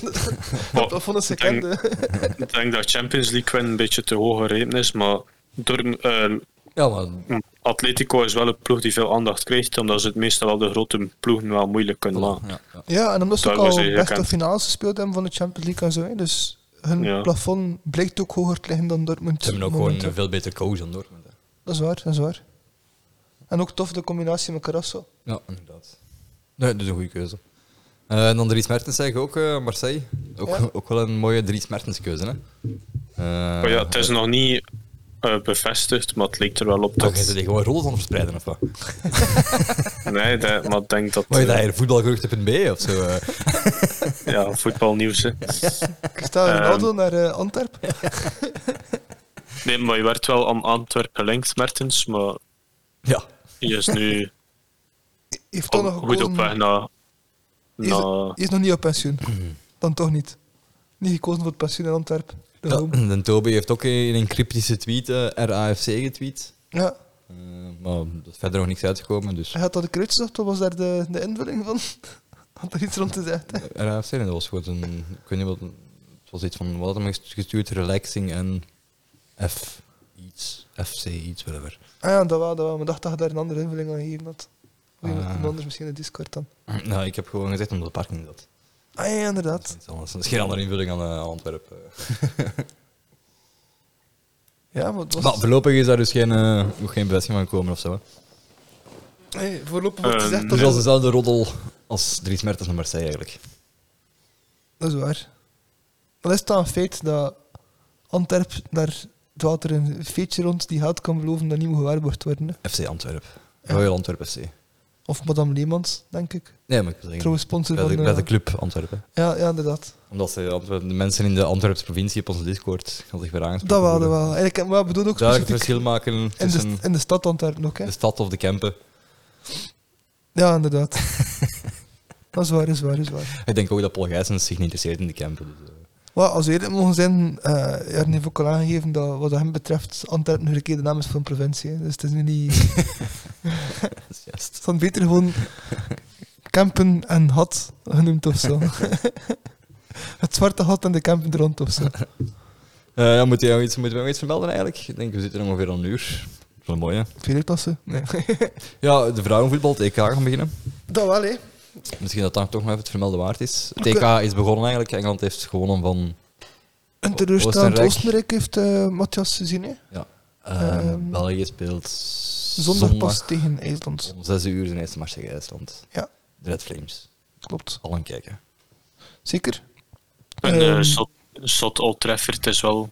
S3: Maar
S2: dat vonden ze
S3: ik denk-
S2: gekend. hè.
S3: Ik denk dat Champions League win een beetje te hoog gerepen is, maar Dorm, eh,
S1: Ja, maar
S3: Atletico is wel een ploeg die veel aandacht krijgt, omdat ze het meestal al de grote ploegen wel moeilijk kunnen maken.
S1: Ja, ja.
S2: Ja, en omdat ze ook
S3: Daarom is
S2: al
S3: hij
S2: echt de
S3: gekend.
S2: finales gespeeld hebben van de Champions League en zo. Hè. Dus hun
S3: Ja.
S2: plafond blijkt ook hoger te liggen dan Dortmund.
S1: Ze hebben ook
S2: momenteel.
S1: gewoon een veel beter coach dan Dortmund. hè.
S2: Dat is waar, dat is waar. En ook tof de combinatie met Carrasso.
S1: Ja, inderdaad. Nee, dat is een goede keuze. Eh, en dan Dries Mertens zeg ik ook, eh, Marseille. Ook,
S2: Ja.
S1: ook wel een mooie Dries Mertens keuze, hè? Eh,
S3: Maar Oh ja, het is nog niet eh, bevestigd, maar het leek er wel op
S1: Toch is
S3: dat...
S1: het gewoon rol van verspreiden of wat?
S3: Nee, dat- maar ik denk dat...
S1: Wat je
S3: eh,
S1: daar hier voetbalgeruchten.be of zo? eh?
S3: ja, voetbalnieuws, hè.
S2: Cristiano
S3: Ehm.
S2: Ronaldo naar eh, Antwerpen.
S3: Nee, maar je werd wel aan Antwerpen gelinkt, Mertens, maar
S1: ja.
S3: je is nu
S2: Heeft toch
S3: al
S2: nog
S3: goed op weg
S2: gekozen...
S3: naar...
S2: Is,
S3: naar
S2: is nog niet op pensioen.
S1: Hmm.
S2: Dan toch niet. Niet gekozen voor het pensioen in Antwerpen. De
S1: ja.
S2: home.
S1: En Toby heeft ook in een cryptische tweet eh, RAFC getweet.
S2: Ja.
S1: Eh, maar er is verder nog niks uitgekomen, dus
S2: Hij had dat de kruidstocht, wat was daar de, de invulling van? Had er iets rond te zeggen?
S1: RAFC en dat was gewoon een, ik weet niet wat, het was iets van, wat had hem gestu- gestuurd, relaxing en F iets, FC iets, whatever.
S2: Ah ja, dat wel, dat wel. Maar ik dacht dat je daar een andere invulling aan gegeven had. Of iemand
S1: Ah.
S2: iemand anders misschien in de Discord dan.
S1: Nou, ik heb gewoon gezegd omdat de parking zat.
S2: Ah ja,
S1: Dat is
S2: inderdaad.
S1: iets anders. Dat is geen andere invulling aan, eh, aan Antwerpen.
S2: Ja, maar het was...
S1: Maar voorlopig is daar dus geen, eh, nog geen bevestiging van gekomen of zo. Hè.
S2: Nee, voorlopig wordt
S3: Ehm,
S2: gezegd
S1: Dus
S2: dat...
S1: dat is dezelfde roddel als Dries Mertens naar Marseille eigenlijk.
S2: Dat is waar. Dan is het dan een feit dat Antwerp, daar dwaalt er een feetje rond die haat kan beloven dat niet moet gewaarborgd worden. hè.
S1: FC Antwerpen.
S2: Ja.
S1: Royal Antwerpen FC.
S2: Of Madame Leemans, denk ik.
S1: Nee, maar ik wil zeggen,
S2: Trouwens sponsor
S1: bij
S2: van...
S1: de, bij
S2: eh,
S1: de club Antwerpen.
S2: ja, ja, inderdaad.
S1: Omdat ze, Antwerpen- de mensen in de Antwerpse provincie op onze Discord gaan zich weer aangesproken
S2: Dat wel, dat
S1: voelen.
S2: wel. Eigenlijk, maar ik bedoel ook
S1: Duidelijk
S2: specifiek
S1: verschil maken
S2: in
S1: tussen
S2: de, eh, in de stad Antwerpen ook, hè.
S1: de stad of de Kempen.
S2: Ja, inderdaad. dat is waar, is waar, is waar.
S1: Ik denk ook dat Paul Gijsens zich niet interesseert in de Kempen. Dus, eh,
S2: Maar als we eerlijk mogen zijn, eh er heeft ook al aangegeven dat wat dat hem betreft Antwerpen nu een keer de naam is van een provincie. hè. Dus het is nu niet... Het
S1: dat is juist.
S2: is dan beter gewoon Kampen en Hat genoemd of zo. Het zwarte gat en de Kampen rond of zo.
S1: Eh, ja, moet jij nog iets, moeten we nog iets vermelden eigenlijk? Ik denk, we zitten er ongeveer al een uur. Wel mooi, hè?
S2: Vierklasse? Nee.
S1: Ja, de vrouwenvoetbal, het EK gaan beginnen.
S2: Dat wel, hè.
S1: Misschien dat dan toch nog even het vermelden waard is. Het
S2: Oké.
S1: EK is begonnen eigenlijk. Engeland heeft gewonnen van
S2: Een teleurstellend
S1: Oostenrijk.
S2: Oostenrijk heeft eh Matthias gezien, hè.
S1: eh,
S2: Ehm,
S1: België speelt
S2: Zonder
S1: zondag
S2: pas tegen IJsland.
S1: om 6 uur zijn eerste match tegen IJsland.
S2: Ja.
S1: De Red Flames.
S2: Klopt.
S1: Al aan kijken.
S2: Zeker?
S3: een eh,
S2: ehm,
S3: shot, shot Old Trafford is wel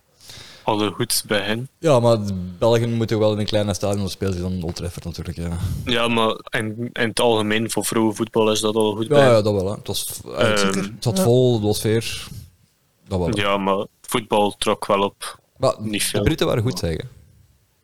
S3: al een goed bij hen.
S1: Ja, maar de Belgen moeten wel in een kleine stadion spelen dan Old Trafford natuurlijk. Ja,
S3: Ja, maar in, in het algemeen voor vrouwenvoetbal is dat al goed bij
S1: ja,
S3: hen.
S1: ja dat wel. Hè. Het, was, eh, het
S3: Ehm,
S2: Zeker.
S1: het zat
S2: Ja.
S1: vol, het was sfeer. Dat wel. hè.
S3: ja, maar voetbal trok wel op.
S1: Maar
S3: Niet
S1: de
S3: veel.
S1: Britten waren goed, zeggen.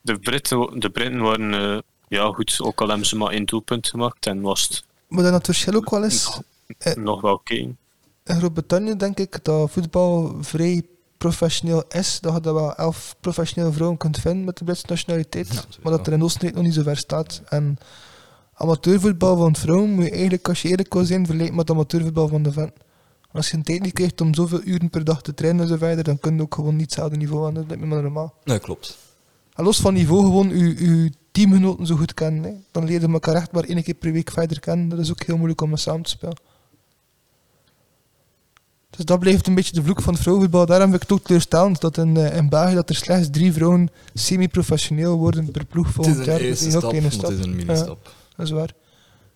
S3: De Britten, de Britten waren eh, ja, goed, ook al hebben ze maar één doelpunt gemaakt en was het
S2: Maar dan het verschil ook wel is...
S1: Eh,
S3: nog wel keen.
S2: In Groot-Brittannië denk ik dat voetbal vrij professioneel is. Dat je daar wel elf professionele vrouwen kunt vinden met de Britse nationaliteit.
S1: sowieso.
S2: maar dat er in Oostenrijk nog niet zo ver staat. En amateurvoetbal van vrouwen moet je eigenlijk, als je eerlijk wil zijn, vergelijken met amateurvoetbal van de vent. Als je een tijd niet krijgt om zoveel uren per dag te trainen en zo verder, dan kun je ook gewoon niet hetzelfde niveau aan. Dat lijkt me maar normaal.
S1: Nee, klopt.
S2: En los van niveau, gewoon je, je teamgenoten zo goed kennen. Hè. Dan leer je elkaar echt maar één keer per week verder kennen. Dat is ook heel moeilijk om met samen te spelen. Dus dat blijft een beetje de vloek van het vrouwenvoetbal. Daarom vind ik het ook teleurstellend dat in, eh, in België dat er slechts drie vrouwen semi-professioneel worden per ploeg volgend jaar. Dat is een heel kleine
S1: maar
S2: stap.
S1: het is een
S2: Ja,
S1: mini-stap.
S2: dat is waar.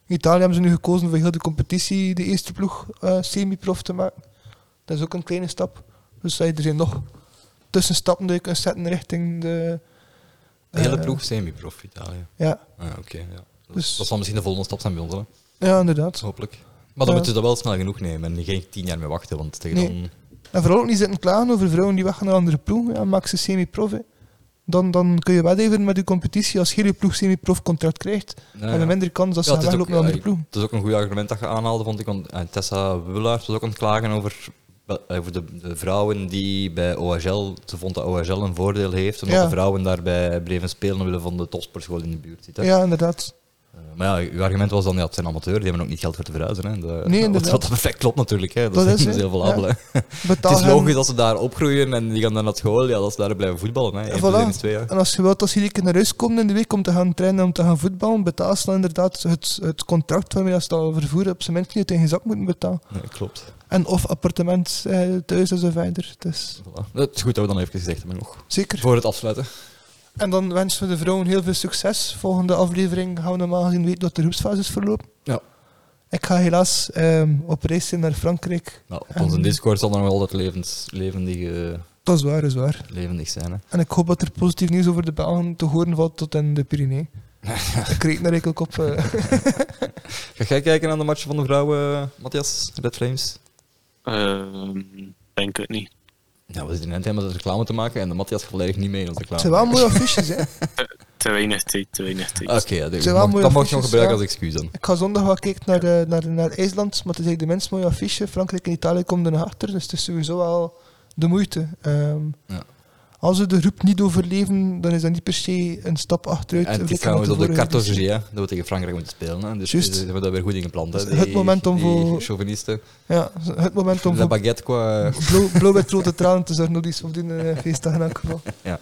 S2: In Italië hebben ze nu gekozen voor heel de competitie de eerste ploeg eh, semi-prof te maken. Dat is ook een kleine stap. Dus dat je er zijn nog tussenstappen die je kunt zetten richting de...
S1: De hele
S2: eh,
S1: ploeg semi-prof Italië.
S2: ja,
S1: Ah, oké. ja.
S2: Dus-
S1: Dus... Dat zal misschien de volgende stap zijn bij ons, hè.
S2: ja, inderdaad.
S1: hopelijk. Maar dan
S2: Ja.
S1: moeten ze dat wel snel genoeg nemen en geen tien jaar meer wachten, want tegen
S2: Nee.
S1: dan...
S2: En vooral ook niet zitten klagen over vrouwen die weggaan naar andere ploegen. Ja, maak ze semi-prof. hè. Dan, dan kun je wel even met je competitie, als je hele ploeg semi-prof contract krijgt,
S1: Nou
S2: heb je
S1: ja.
S2: minder kans dat ze
S1: Ja,
S2: gaan
S1: het is
S2: weglopen
S1: ook-
S2: naar andere
S1: ja,
S2: ploegen.
S1: Het is ook een goed argument dat je aanhaalde, vond ik. Want eh, Tessa Willaert was ook aan het klagen over, wel, eh, over de, de vrouwen die bij OHL... Ze vond dat OHL een voordeel heeft, omdat
S2: Ja.
S1: de vrouwen daarbij bleven spelen omwille van de topsportschool in de buurt zit. hè.
S2: Ja, inderdaad.
S1: Eh, maar ja, uw argument was dan, ja, het zijn amateur, die hebben ook niet geld voor te verhuizen. Hè. Dat-
S2: Nee,
S1: wat,
S2: inderdaad.
S1: wat perfect klopt natuurlijk. Hè. Dat,
S2: Dat
S1: is,
S2: is,
S1: dat is
S2: hè.
S1: heel valabel.
S2: Ja.
S1: hè.
S2: Betaal
S1: Het is
S2: hem-
S1: logisch dat ze daar opgroeien en die gaan dan naar school, ja, dat ze daar blijven voetballen. Hè. Eén
S2: voilà.
S1: plus één is twee, ja.
S2: En als je wilt dat ze iedere keer naar huis komen in de week om te gaan trainen, om te gaan voetballen, betaal ze dan inderdaad het, het contract waarmee dat ze dat vervoeren op zijn minst niet tegen je zak moeten betalen.
S1: Nee, klopt.
S2: En of appartement eh, thuis en zo verder. Dus,
S1: Voilà. Het is goed dat we dan even gezegd hebben nog.
S2: zeker.
S1: Voor het afsluiten.
S2: En dan wensen we de vrouwen heel veel succes. Volgende aflevering gaan we normaal gezien weten dat de groepsfase is verlopen.
S1: Ja.
S2: Ik ga helaas ehm, op reis zijn naar Frankrijk.
S1: Nou, op onze
S2: En-
S1: Discord zal dan nog altijd levens, levendig, eh,
S2: Dat is waar, dat is waar.
S1: levendig zijn. Hè.
S2: En ik hoop dat er positief nieuws over de Belgen te horen valt tot in de Pyrenee. ik reed naar eigenlijk op. eh,
S1: Ga jij kijken naar de matchen van de vrouwen, Matthias? Red Flames?
S3: Ehm, denk het niet.
S1: Ja, Nou, we zitten net helemaal met reclame te maken en de Matthias gaat volledig niet mee in onze
S2: het
S1: reclame.
S2: zijn wel mooie affiches, hè.
S3: Te weinig tijd, te weinig tijd.
S1: Oké, ja, dat-
S2: Het zijn wel
S1: mag-
S2: mooie
S1: dat mag je nog
S2: affiches,
S1: gebruiken als
S2: ja.
S1: excuus dan.
S2: Ik ga zondag wel kijken naar, eh, naar, naar IJsland, maar het is eigenlijk de minst mooie affiche. Frankrijk en Italië komen er nog achter, dus het is sowieso wel de moeite. Ehm,
S1: Ja.
S2: Als we de groep niet overleven, dan is dat niet per se een stap achteruit.
S1: En het is
S2: Blikken
S1: trouwens
S2: op
S1: op de
S2: vorige
S1: cartografie, hè, dat we tegen Frankrijk moeten spelen. Hè. Dus
S2: dus- Juist.
S1: ze hebben dat weer goed ingeplant. Hè.
S2: Dus het
S1: Die-
S2: moment om
S1: die
S2: voor-
S1: chauvinisten.
S2: Ja, het moment om
S1: De
S2: voor
S1: baguette qua...
S2: blauw- blauw met rode tranen te zorgen, dat is op die eh, feestdag in elk geval.
S1: Ja.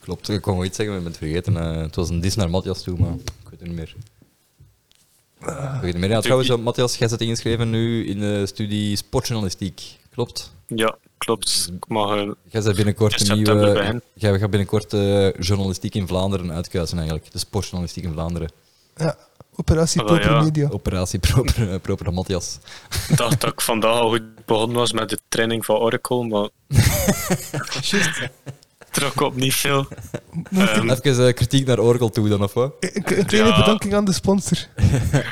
S1: Klopt, ik kon wel iets zeggen, maar ik ben het vergeten. eh, het was een dis naar Matthias toe, maar ik weet het niet meer. Ik weet het niet meer. Ja, trouwens, eh, Matthias, jij zit ingeschreven nu in de studie sportjournalistiek. Klopt?
S3: Ja, klopt. Ik mag eh,
S1: Jij bent binnenkort
S3: In
S1: een
S3: september bij hen.
S1: nieuwe. Jij gaat binnenkort eh, journalistiek in Vlaanderen uitkuisen, eigenlijk. De sportjournalistiek in Vlaanderen.
S2: Ja, operatie
S3: Ah, wel,
S2: Proper
S3: ja.
S2: Media.
S1: Operatie proper, eh, proper Matthias.
S3: dacht dat ik vandaag al goed begonnen was met de training van Oracle, maar
S2: Juist.
S3: trok op niet veel. Ehm,
S1: Even eh, kritiek naar Oracle toe dan, of wat?
S2: Een een kleine
S3: Ja.
S2: bedanking aan de sponsor.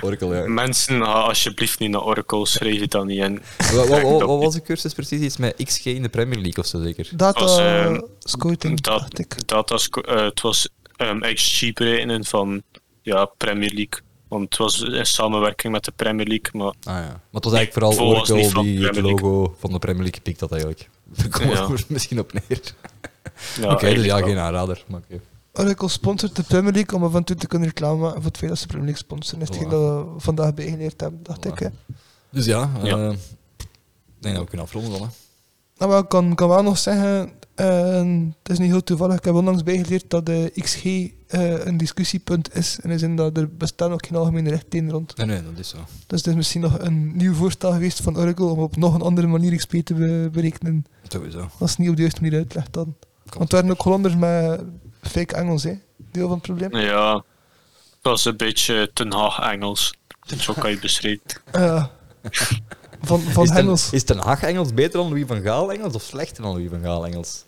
S1: Oracle, ja.
S3: mensen, ga alsjeblieft niet naar Oracle, schrijf je dan niet in.
S1: Wat, wat, wat,
S3: dat
S1: wat
S3: niet.
S1: was de cursus precies? Iets met XG in de Premier League of zo, zeker?
S2: Data
S3: Als, eh,
S2: scouting, Ah, dacht ik.
S3: Dat, dat was, eh, het was ehm XG berekenen van ja, Premier League. Want het was in samenwerking met de Premier League, maar
S1: Ah ja. Maar het was eigenlijk vooral
S3: Volgens niet
S1: Oracle
S3: van
S1: die het
S3: Premier League.
S1: logo van de Premier League pikt dat eigenlijk. Daar komt
S3: Ja.
S1: het misschien op neer.
S3: ja,
S1: Oké, dus ja,
S3: eigenlijk
S1: geen
S3: wel.
S1: aanrader. Maar oké.
S2: Oracle sponsort de Premier League om af en toe te kunnen reclame maken voor het feit dat ze de Premier League sponsoren. Dat is
S1: Voilà.
S2: hetgeen dat we vandaag bijgeleerd hebben, dacht
S1: Voilà.
S2: ik. Hè.
S1: Dus ja, eh,
S3: Ja.
S1: ik denk dat we kunnen afronden dan. Hè.
S2: Nou, maar ik kan, kan wel nog zeggen, eh, het is niet heel toevallig, ik heb onlangs bijgeleerd dat de XG eh, een discussiepunt is. In de zin dat er bestaan ook geen algemene richtlijnen rond.
S1: Nee, nee, dat is zo.
S2: Dus het is misschien nog een nieuw voorstel geweest van Oracle om op nog een andere manier XP te be- berekenen.
S1: Sowieso.
S2: Als het niet op de juiste manier uitlegt dan. Want het waren ook Hollanders met fake Engels, hè? Deel van het probleem.
S3: Ja, het was een beetje Ten Haag Engels. Zo kan je het beschrijven.
S2: Ja. Eh, van van
S1: is, ten,
S2: Engels.
S1: is Ten Hag Engels beter dan Louis van Gaal Engels of slechter dan Louis van Gaal Engels?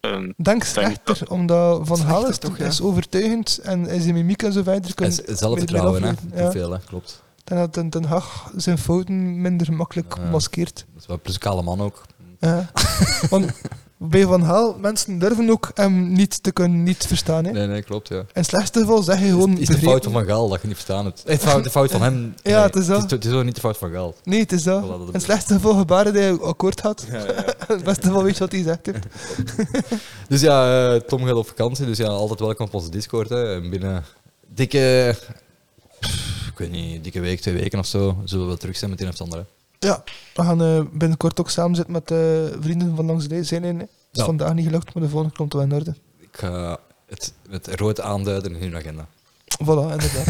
S3: Ehm,
S2: Denk
S3: denk
S2: slechter, omdat Van Gaal is,
S1: Slechter toch,
S2: is overtuigend en is zijn mimiek en zo verder.
S1: En
S2: kunt-
S1: z- zelfvertrouwen, hè?
S2: meer- meer
S1: Te
S2: afleiden, Ja.
S1: veel, hè? Klopt.
S2: Dan dat Den, Den Haag zijn fouten minder makkelijk
S1: Ja.
S2: maskeert.
S1: Dat is wel plus kale man ook.
S2: Ja. Want bij Van Gaal, mensen durven ook hem niet te kunnen niet verstaan. Hè.
S1: Nee, nee, klopt, ja.
S2: In het slechtste geval zeg je gewoon...
S1: Is, is de
S2: begrepen.
S1: fout van Van Gaal dat je niet verstaan hebt? Eh, Het fout, de fout van hem. Nee,
S2: het is dat.
S1: Het is, het is ook niet de fout van Gaal.
S2: Nee, het is dat.
S1: Voilà, dat
S2: In
S1: bedoel
S2: het
S1: ik.
S2: slechtste geval gebaren die je akkoord had. In het beste geval weet je wat hij zegt. heeft.
S1: Dus ja, eh, Tom gaat op vakantie, dus ja, altijd welkom op onze Discord. Hè. En Binnen dikke, pff, ik weet niet, dikke week, twee weken of zo, zullen we wel terug zijn met een of het ander. hè.
S2: Ja, we gaan eh, binnenkort ook samen zitten met eh, vrienden van langs de zijn. Het is
S1: Ja.
S2: vandaag niet gelukt, maar de volgende komt wel in orde.
S1: Ik ga het met rood aanduiden in hun agenda.
S2: Voilà, inderdaad.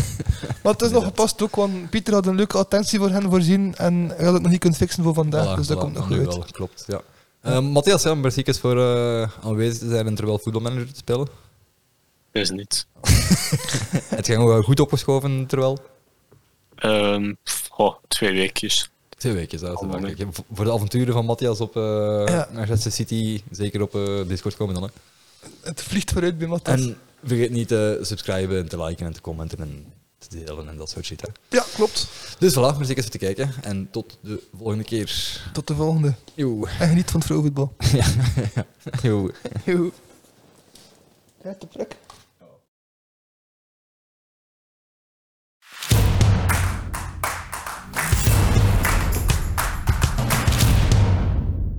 S2: maar het is nog gepast ook, want Pieter had een leuke attentie voor hen voorzien en hij had het nog niet kunnen fixen voor vandaag,
S1: Voilà,
S2: dus dat
S1: voilà,
S2: komt nog
S1: nu
S2: goed uit.
S1: wel, klopt, ja. Eh, Matthias, ja, merci eens voor eh, aanwezig te zijn en terwijl voetbalmanager te spelen.
S3: is niet.
S1: het ging wel goed opgeschoven terwijl.
S3: Ehm, goh, twee weekjes.
S1: Twee weken zou
S3: Oh, man,
S1: ik zeggen. Voor de avonturen van Matthias op eh, Manchester City, zeker op eh, Discord komen dan. Hè.
S2: Het vliegt vooruit bij Matthias.
S1: En vergeet niet te subscriben en te liken en te commenten en te delen en dat soort shit. Hè.
S2: Ja, klopt.
S1: Dus voilà, merci eens voor te kijken en tot de volgende keer.
S2: Tot de volgende.
S1: Joe.
S2: En geniet van het vrouwenvoetbal.
S1: Joe.
S2: Joe. Ja, te plek.